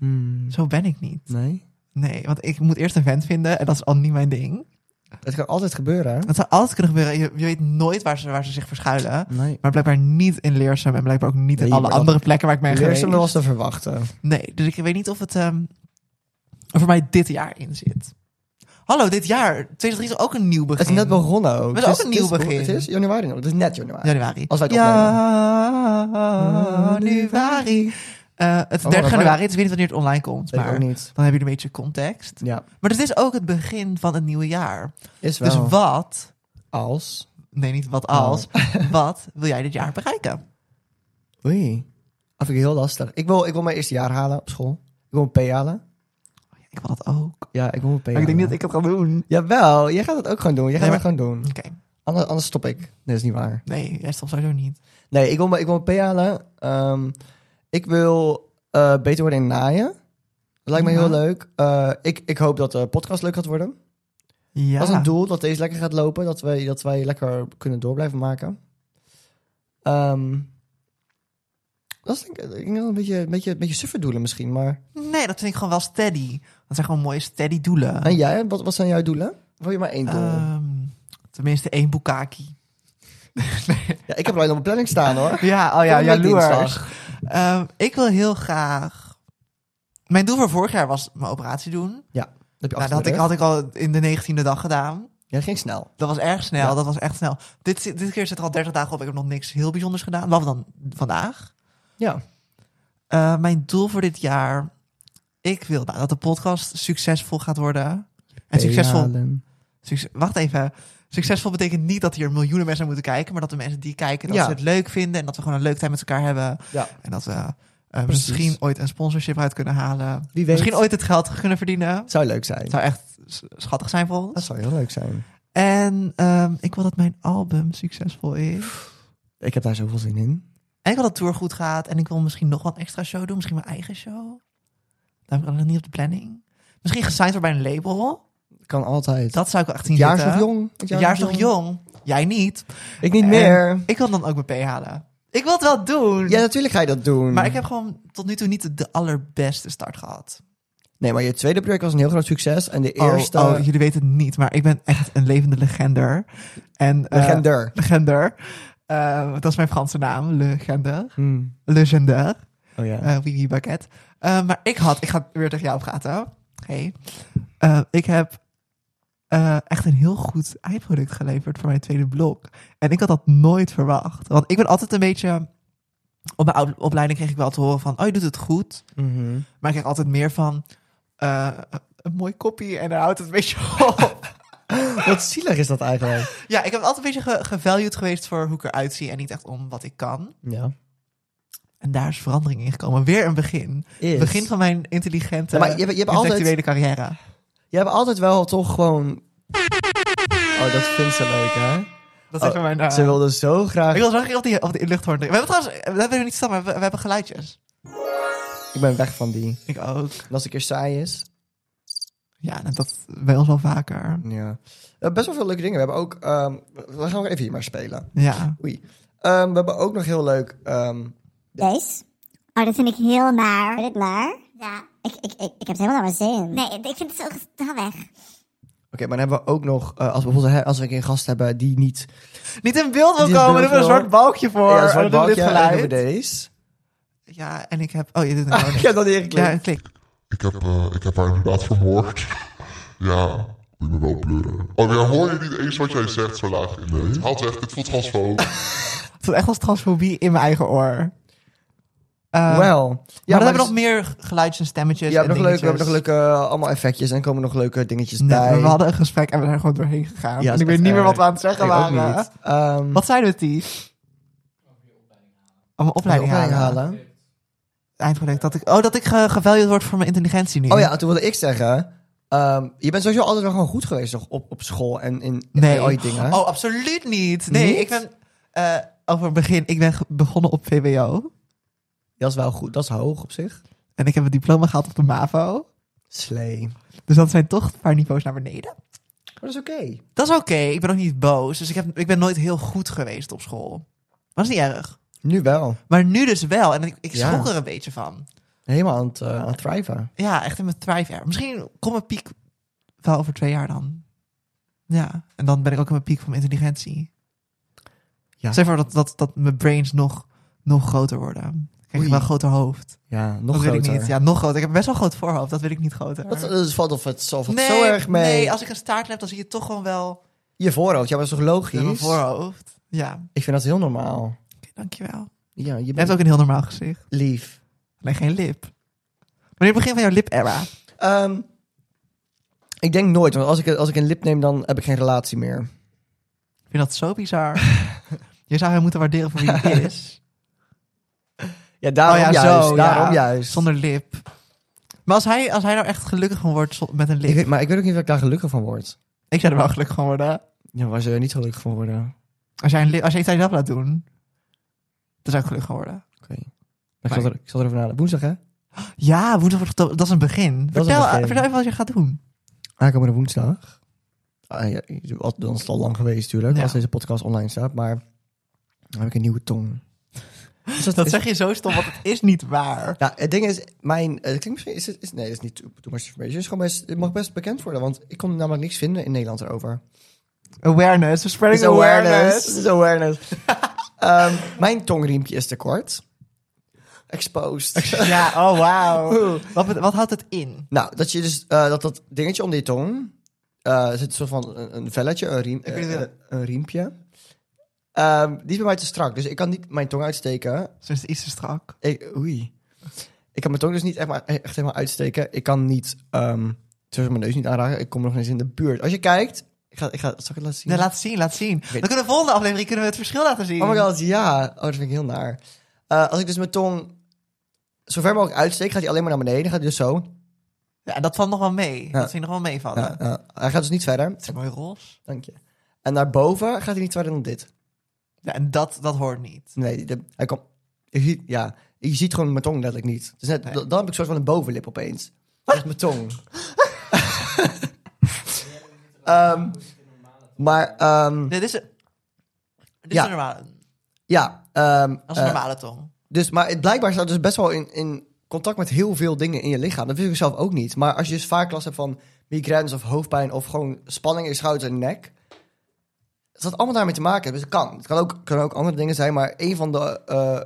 Zo ben ik niet.
Hmm. Nee?
Nee, want ik moet eerst een vent vinden en dat is al niet mijn ding.
Het kan altijd gebeuren, hè?
Dat zou altijd kunnen gebeuren. Je, je weet nooit waar ze, waar ze zich verschuilen.
Nee.
Maar blijkbaar niet in Leersum en blijkbaar ook niet in
Nee,
alle
maar dat-
andere plekken waar ik ben
Leer ze
geweest.
was te verwachten.
Nee, dus ik weet niet of het ehm, er voor mij dit jaar in zit. Hallo, dit jaar. 2023 is ook een nieuw begin.
Het is net begonnen ook.
is ook een nieuw
het
begin.
Het is januari nog. Het is net januari.
Januari.
Als wij het
Januari. Eh, het is
Oh,
30
maar-
januari. Het is weet niet wanneer het online komt.
Weet ik
Maar
ook
dan
niet.
hebben jullie een beetje context.
Ja,
Maar het is ook het begin van het nieuwe jaar.
is wel.
Dus wat...
als?
Nee, niet
Oh.
wat als. Wat wil jij dit jaar bereiken?
Oei. Dat vind ik heel lastig. Ik wil, ik wil mijn eerste jaar halen op school. Ik wil mijn P halen.
Ik wil dat ook.
Ja, ik wil mijn P
Maar ik
halen.
denk niet dat ik het ga doen.
Jawel, jij gaat het ook gewoon doen. Jij gaat
Nee,
het gewoon doen.
Oké.
Anders, anders stop ik. Nee, dat is niet waar.
Nee, jij stopt sowieso niet.
Nee, ik wil, mijn- ik wil mijn P halen. Ehm, ik wil eh, beter worden in naaien. Lijkt me
Ja.
heel leuk. Eh, ik, ik hoop dat de podcast leuk gaat worden.
Ja.
Dat is een doel, dat deze lekker gaat lopen. Dat wij, dat wij lekker kunnen door blijven maken. Ehm, dat is denk ik, ik denk dat een beetje, een beetje, een beetje suffe doelen misschien. Maar...
Nee, dat vind ik gewoon wel steady. Dat zijn gewoon mooie steady doelen.
En jij, wat, wat zijn jouw doelen? Eh, Wil je maar één doel?
Ehm, tenminste één boekaki.
ja, ik heb alleen op mijn planning staan hoor.
Ja, oh ja,
Volgende week
jaloers.
dinsdag.
Ehm, ik wil heel graag... Mijn doel voor vorig jaar was mijn operatie doen.
Dat, heb je
Nou, dat
achter
had
de
ik,
rug.
had ik al in de negentiende dag gedaan.
Ja, dat ging snel.
Dat was erg snel,
Ja.
dat was echt snel. Dit, dit keer zit er al 30 dagen op. Ik heb nog niks heel bijzonders gedaan, behalve dan vandaag.
Ja.
Eh, mijn doel voor dit jaar... Ik wil nou, dat de podcast succesvol gaat worden. En succesvol
Realen.
Succes- wacht even. Succesvol betekent niet dat hier miljoenen mensen naar moeten kijken, maar dat de mensen die kijken, dat
Ja.
ze het leuk vinden en dat we gewoon een leuk tijd met elkaar hebben.
Ja.
En dat we eh, misschien ooit een sponsorship uit kunnen halen.
Wie weet.
Misschien ooit het geld kunnen verdienen.
Zou leuk zijn.
Het zou echt s- schattig zijn voor ons.
Dat zou heel leuk zijn.
En ehm, ik wil dat mijn album succesvol is.
Ik heb daar zoveel zin in.
En ik wil dat de tour goed gaat. En ik wil misschien nog wat extra show doen. Misschien mijn eigen show. Daar heb ik nog niet op de planning. Misschien gesigned worden bij een label.
Kan altijd.
Dat zou ik wel echt zien
het jaar is nog
zitten.
jong. Het
Het jaar is nog jong. Jij niet.
Ik niet
En-
meer.
Ik wil dan ook mijn P halen. Ik wil het wel doen.
Ja, natuurlijk ga je dat doen.
maar ik heb gewoon tot nu toe niet de, de allerbeste start gehad.
Nee, maar je tweede project was een heel groot succes. En de
Oh,
eerste...
Oh, jullie weten het niet, maar ik ben echt een levende legender. En, eh,
Legender.
legender. Eh, dat is mijn Franse naam. Legender.
Hmm.
Legender.
Oh ja.
eh Wiggy Baguette. Eh, maar ik had, ik ga weer tegen jou praten. Hey. Eh, ik heb eh, echt een heel goed eindproduct geleverd voor mijn tweede blok. En ik had dat nooit verwacht. Want ik ben altijd een beetje... Op mijn oude- opleiding kreeg ik wel te horen van... Oh, je doet het goed.
Mhm.
Maar ik kreeg altijd meer van... eh, een mooi kopie en daar houdt het een beetje op.
Wat zielig is dat eigenlijk.
ja, ik heb altijd een beetje ge- gevalued geweest voor hoe ik eruit zie... en niet echt om wat ik kan.
Ja.
En daar is verandering in gekomen. Weer een begin.
Is.
Begin van mijn intelligente,
Ja, maar je hebt- je hebt altijd-
intellectuele carrière.
Je hebt altijd wel toch gewoon... Oh, dat vindt ze leuk, hè?
Dat
Oh,
is even mijn... eh,
Ze wilde zo graag...
Ik wil zo graag op die, op die luchthoorn drukken. We hebben trouwens... We hebben er niet staan, maar we, we hebben geluidjes.
Ik ben weg van die.
Ik ook.
En als een keer saai is...
Ja, nou, dat bij ons wel vaker.
Ja. Eh, best wel veel leuke dingen. We hebben ook... ehm, we gaan ook even hier maar spelen.
Ja.
Oei. Ehm, we hebben ook nog heel leuk... ehm,
Deze? Oh, dat vind ik heel naar. Vind je het naar? Ja. Ik, ik, ik, ik heb het helemaal naar mijn zin. Nee, ik vind het zo... Ga weg.
Oké, maar dan hebben we ook nog, eh, als, we bijvoorbeeld, hè, als we een keer een gast hebben die niet...
Niet in beeld wil
Niet in
komen,
beeld
dan hebben we een
wil.
zwart balkje voor.
ja,
en dan doen we dit
en dan
geluid.
hebben we deze.
Ja, en ik heb... Oh, je doet het
Ah,
gewoon
ik
niet.
heb dat niet ingeklikt.
Ja, een klik.
Ik heb, eh, ik heb haar inderdaad vermoord. ja, moet je me wel blurren. Oh, ja, hoor je niet eens wat jij zegt zo laag in de... Het haalt echt, dit voelt transfoob.
Het voelt echt als transfobie in mijn eigen oor. Eh, maar
Wel. Ja,
dan hebben we
dus-
nog meer geluidjes en stemmetjes
Ja, we
en
hebben nog leuke, we
dingetjes.
hebben nog leuke eh, allemaal effectjes en er komen nog leuke dingetjes
Nee,
bij.
we hadden een gesprek en we zijn gewoon doorheen gegaan.
Ja,
en
is
ik weet
echt
niet meer wat
erg.
we aan het zeggen
Ik ook
waren.
niet. Ehm,
Wat zeiden we, Ties? Om mijn
gaan we
opleiding
opleiding
halen.
halen?
Eindproduct. Dat ik, oh, dat ik ge gevalueerd word voor mijn intelligentie nu.
Oh ja, toen wilde ik zeggen... ehm, je bent sowieso altijd wel gewoon goed geweest toch, op, op school en in, in
Nee.
al die dingen.
Oh, absoluut niet. Nee,
Niet?
ik ben... eh, over het begin, ik ben ge- begonnen op VWO.
Dat is wel goed, dat is hoog op zich.
En ik heb het diploma gehaald op de MAVO.
Slee.
Dus dat zijn toch een paar niveaus naar beneden.
Maar dat is oké.
Dat is oké. Ik ben ook niet boos. Dus ik, heb, ik ben nooit heel goed geweest op school. Maar dat is niet erg.
Nu wel.
Maar nu dus wel. En ik, ik
Ja.
schrok er een beetje van.
Helemaal aan het, eh, aan het thriven.
Ja, echt in mijn thrive era. Misschien komt mijn piek wel over twee jaar dan. Ja, en dan ben ik ook in mijn piek van mijn intelligentie.
Ja.
Ja. Zeg maar dat, dat, dat mijn brains nog, nog groter worden. Dan Krijg
Oei.
ik wel een groter hoofd.
Ja, nog
dat
groter.
wil ik niet. Ja, nog groter. Ik heb best wel een groot voorhoofd. Dat wil ik niet groter.
Dat eh, valt of het, of het zo erg mee.
Nee, als ik een staart heb, dan zie je toch gewoon wel
Je voorhoofd, ja, maar dat is toch logisch?
mijn voorhoofd. Ja,
Ik vind dat heel normaal.
Oké, dankjewel.
Ja, je
Je hebt
bent
ook een heel normaal gezicht.
lief.
Alleen geen lip. Wanneer begin van jouw lip-era?
Ehm, ik denk nooit, want als ik, als ik een lip neem, dan heb ik geen relatie meer.
Ik vind dat zo bizar. je zou hem moeten waarderen voor wie hij is.
Ja, daarom
Oh ja,
juist.
zo,
daarom
ja.
juist.
Zonder lip. Maar als hij, als hij nou echt gelukkig van wordt zo- met een lip,
Ik
ik,
weet, maar ik weet ook niet of ik daar gelukkig van word.
zou er wel gelukkig van worden.
Ja, waar zou je niet gelukkig van worden?
Als jij, een lip, als jij iets aan jezelf laat doen, dan zou ik gelukkig van worden.
Oké. Ik, zal er, ik zal erover nadenken. Woensdag, hè?
Ja, woensdag wordt geto- dat is een begin.
is een
vertel,
begin.
vertel even wat je gaat doen.
Aankomende woensdag. Ah, ja, wat- dan is het al lang geweest natuurlijk,
Ja.
als deze podcast online staat. Maar dan heb ik een nieuwe tong. Dus
Dat
is-
zeg je zo stom, want het is niet waar.
Ja, het ding is, mijn... eh, ik denk misschien is het... Is, nee, dat is niet too, too much information. Het, is gewoon best, het mag best bekend worden, want ik kon namelijk niks vinden in Nederland erover.
Awareness, we spreading awareness.
Het is awareness. Ehm, mijn tongriempje is te kort. Exposed.
Ja, oh wauw.
Oeh.
Wat, bet- wat houdt het in?
nou, dat je dus... eh, dat dat dingetje om die tong... eh zit een soort van een, een velletje, een, riem,
weet het
eh,
wel.
een riempje. Ehm, die is bij mij te strak, dus ik kan niet mijn tong uitsteken.
Ze is iets te strak.
Ik, oei. Ik kan mijn tong dus niet echt, maar, echt helemaal uitsteken. Ik kan niet, ehm zoals mijn neus niet aanraken. Ik kom nog eens in de buurt. Als je kijkt, ik ga, ik ga, zal ik het laten zien?
Nee, laat zien, laat zien. Dan kunnen we de volgende aflevering kunnen we het verschil laten zien.
oh my god, ja. Oh, dat vind ik heel naar. Eh, als ik dus mijn tong zo ver mogelijk uitsteek, gaat hij alleen maar naar beneden. Gaat hij dus zo.
Ja, dat valt nog wel mee. Dat vind ik nog wel meevallen.
Ja, ja. hij gaat dus niet verder.
Het is mooi roze.
Dank je. En naar boven gaat hij niet verder dan dit.
Ja, en dat, dat hoort niet.
Nee, de- hij komt... Je ziet, ja, je ziet gewoon mijn tong letterlijk niet. Dus net, dan heb ik een soort van een bovenlip opeens. Dat is mijn tong. Ehm, maar ehm,
Nee, dit is, dit is
Ja.
een normale,
ja, ehm,
als een
eh,
normale tong.
dus, maar het, blijkbaar staat dus best wel in, in contact met heel veel dingen in je lichaam. Dat wist ik zelf ook niet. Maar als je dus vaak last hebt van migraines of hoofdpijn of gewoon spanning in je schouder en nek. Dat had allemaal daarmee te maken. Dus het kan. Het kan ook, kan ook andere dingen zijn. Maar een van de eh,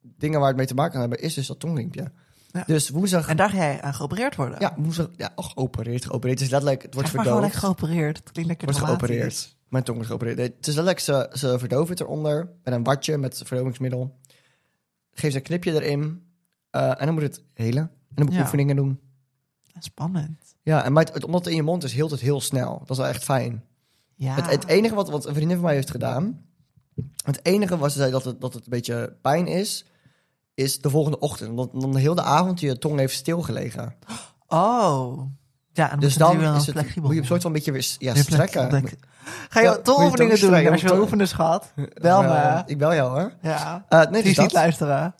dingen waar het mee te maken kan hebben is dus dat tongriempje.
Ja.
Dus woensdag.
En daar ga jij aan geopereerd worden.
ja, woensdag. Ja, oh, geopereerd. Geopereerd. Het is letterlijk. Het wordt
Zeg maar gewoon
verdoofd.
lekker geopereerd. Het klinkt lekker
wordt
dramatisch.
geopereerd. Mijn tong wordt geopereerd. Nee, Het is letterlijk. Ze, ze verdoven het eronder. Met een watje met verdovingsmiddel. Geef ze een knipje erin. eh, en dan moet het helen. En dan moet ik
Ja.
oefeningen doen.
Spannend.
Ja, en maar het, het- omdat het in je mond is, hield het heel snel. Dat is wel echt fijn.
Ja.
Het, het enige wat, wat een vriendin van mij heeft gedaan. Het enige was ze zei dat het, dat het een beetje pijn is. Is de volgende ochtend. Omdat dan heel de avond je tong heeft stilgelegen.
Oh. Ja, en
Dus dan is het,
flexibel
moet je op soort
worden.
van een beetje weer s- ja,
Weer flex-
strekken.
flex- Ga je
Ja, moet je
tongoefeningen
tong
doen?
strekken,
Als je wil
tong-
oefenen, schat. Bel me.
Ik bel jou hoor.
Ja.
Eh, nee,
Die
dus
is
dat.
niet luisteren.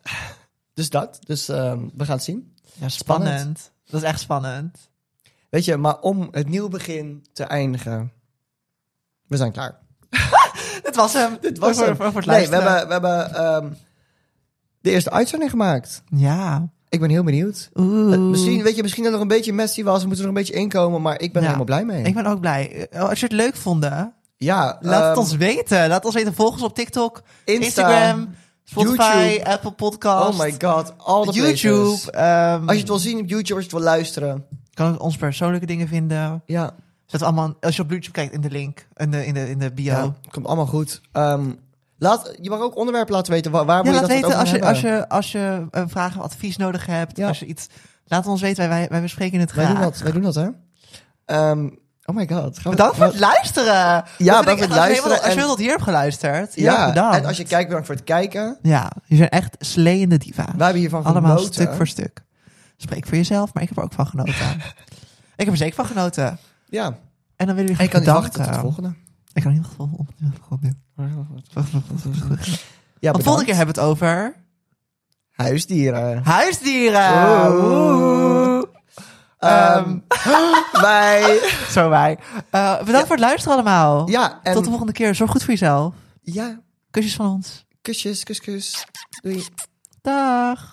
Dus dat. Dus ehm, we gaan het zien.
Ja, spannend.
Spannend.
Dat is echt spannend.
Weet je, maar om het nieuw begin te eindigen. We zijn klaar.
Dit was hem. Dit
Was
voor,
hem.
Voor, voor het
nee, we
luisteren.
hebben, we hebben ehm, de eerste uitzending gemaakt.
Ja.
Ik ben heel benieuwd.
Oeh.
Eh, misschien, weet je, misschien dat er nog een beetje Messi was. We moeten er nog een beetje inkomen. Maar ik ben
Ja.
er helemaal blij mee.
Ik ben ook blij. Eh, Als je het leuk vonden,
Ja,
laat het
ehm,
ons weten. Laat ons weten. Volg ons op TikTok,
Insta,
Instagram, Spotify,
YouTube.
Apple Podcast.
Oh my god. Al de places.
YouTube. ehm,
Als je het wil zien op YouTube, als je het wil luisteren.
kan ook ons persoonlijke dingen vinden.
Ja,
Zet allemaal, als je op YouTube kijkt, in de link, in de, in de, in de bio.
ja
Ja,
komt allemaal goed. Ehm, laat, je mag ook onderwerpen laten weten. Waar, waar moet je
laat
dat dan
weten
over
als je,
hebben?
als, je, als je een vraag of advies nodig hebt.
Ja.
Als je iets, laat ons weten, wij, wij, wij bespreken het
Wij
graag.
doen dat, wij doen dat, hè? Ehm, oh my god. Gaan we-
Bedankt voor het luisteren. Ja,
bedankt voor het
Als je, helemaal-
luisteren
als je
en-
tot hier hebt geluisterd,
Ja,
ja, bedankt.
en als je kijkt, bedankt voor het kijken.
Ja, je zijn echt sleeënde diva's.
We hebben hiervan
Allemaal
genoten.
stuk voor stuk. Spreek voor jezelf, maar ik heb er ook van genoten. ik heb er zeker van genoten.
Ja,
En dan willen jullie
en ik kan niet
graag
wachten tot de
bedanken.
volgende.
Ik kan niet wachten tot de volgende.
Ja,
Want volgende keer hebben we het over...
Huisdieren.
Huisdieren!
Oh.
Oeh.
Ehm, wij...
Zo wij. Eh, bedankt voor het luisteren allemaal.
Ja, en...
Tot de volgende keer. Zorg goed voor jezelf.
Ja,
Kusjes van ons.
kusjes, kus, kus. Doei.
Dag.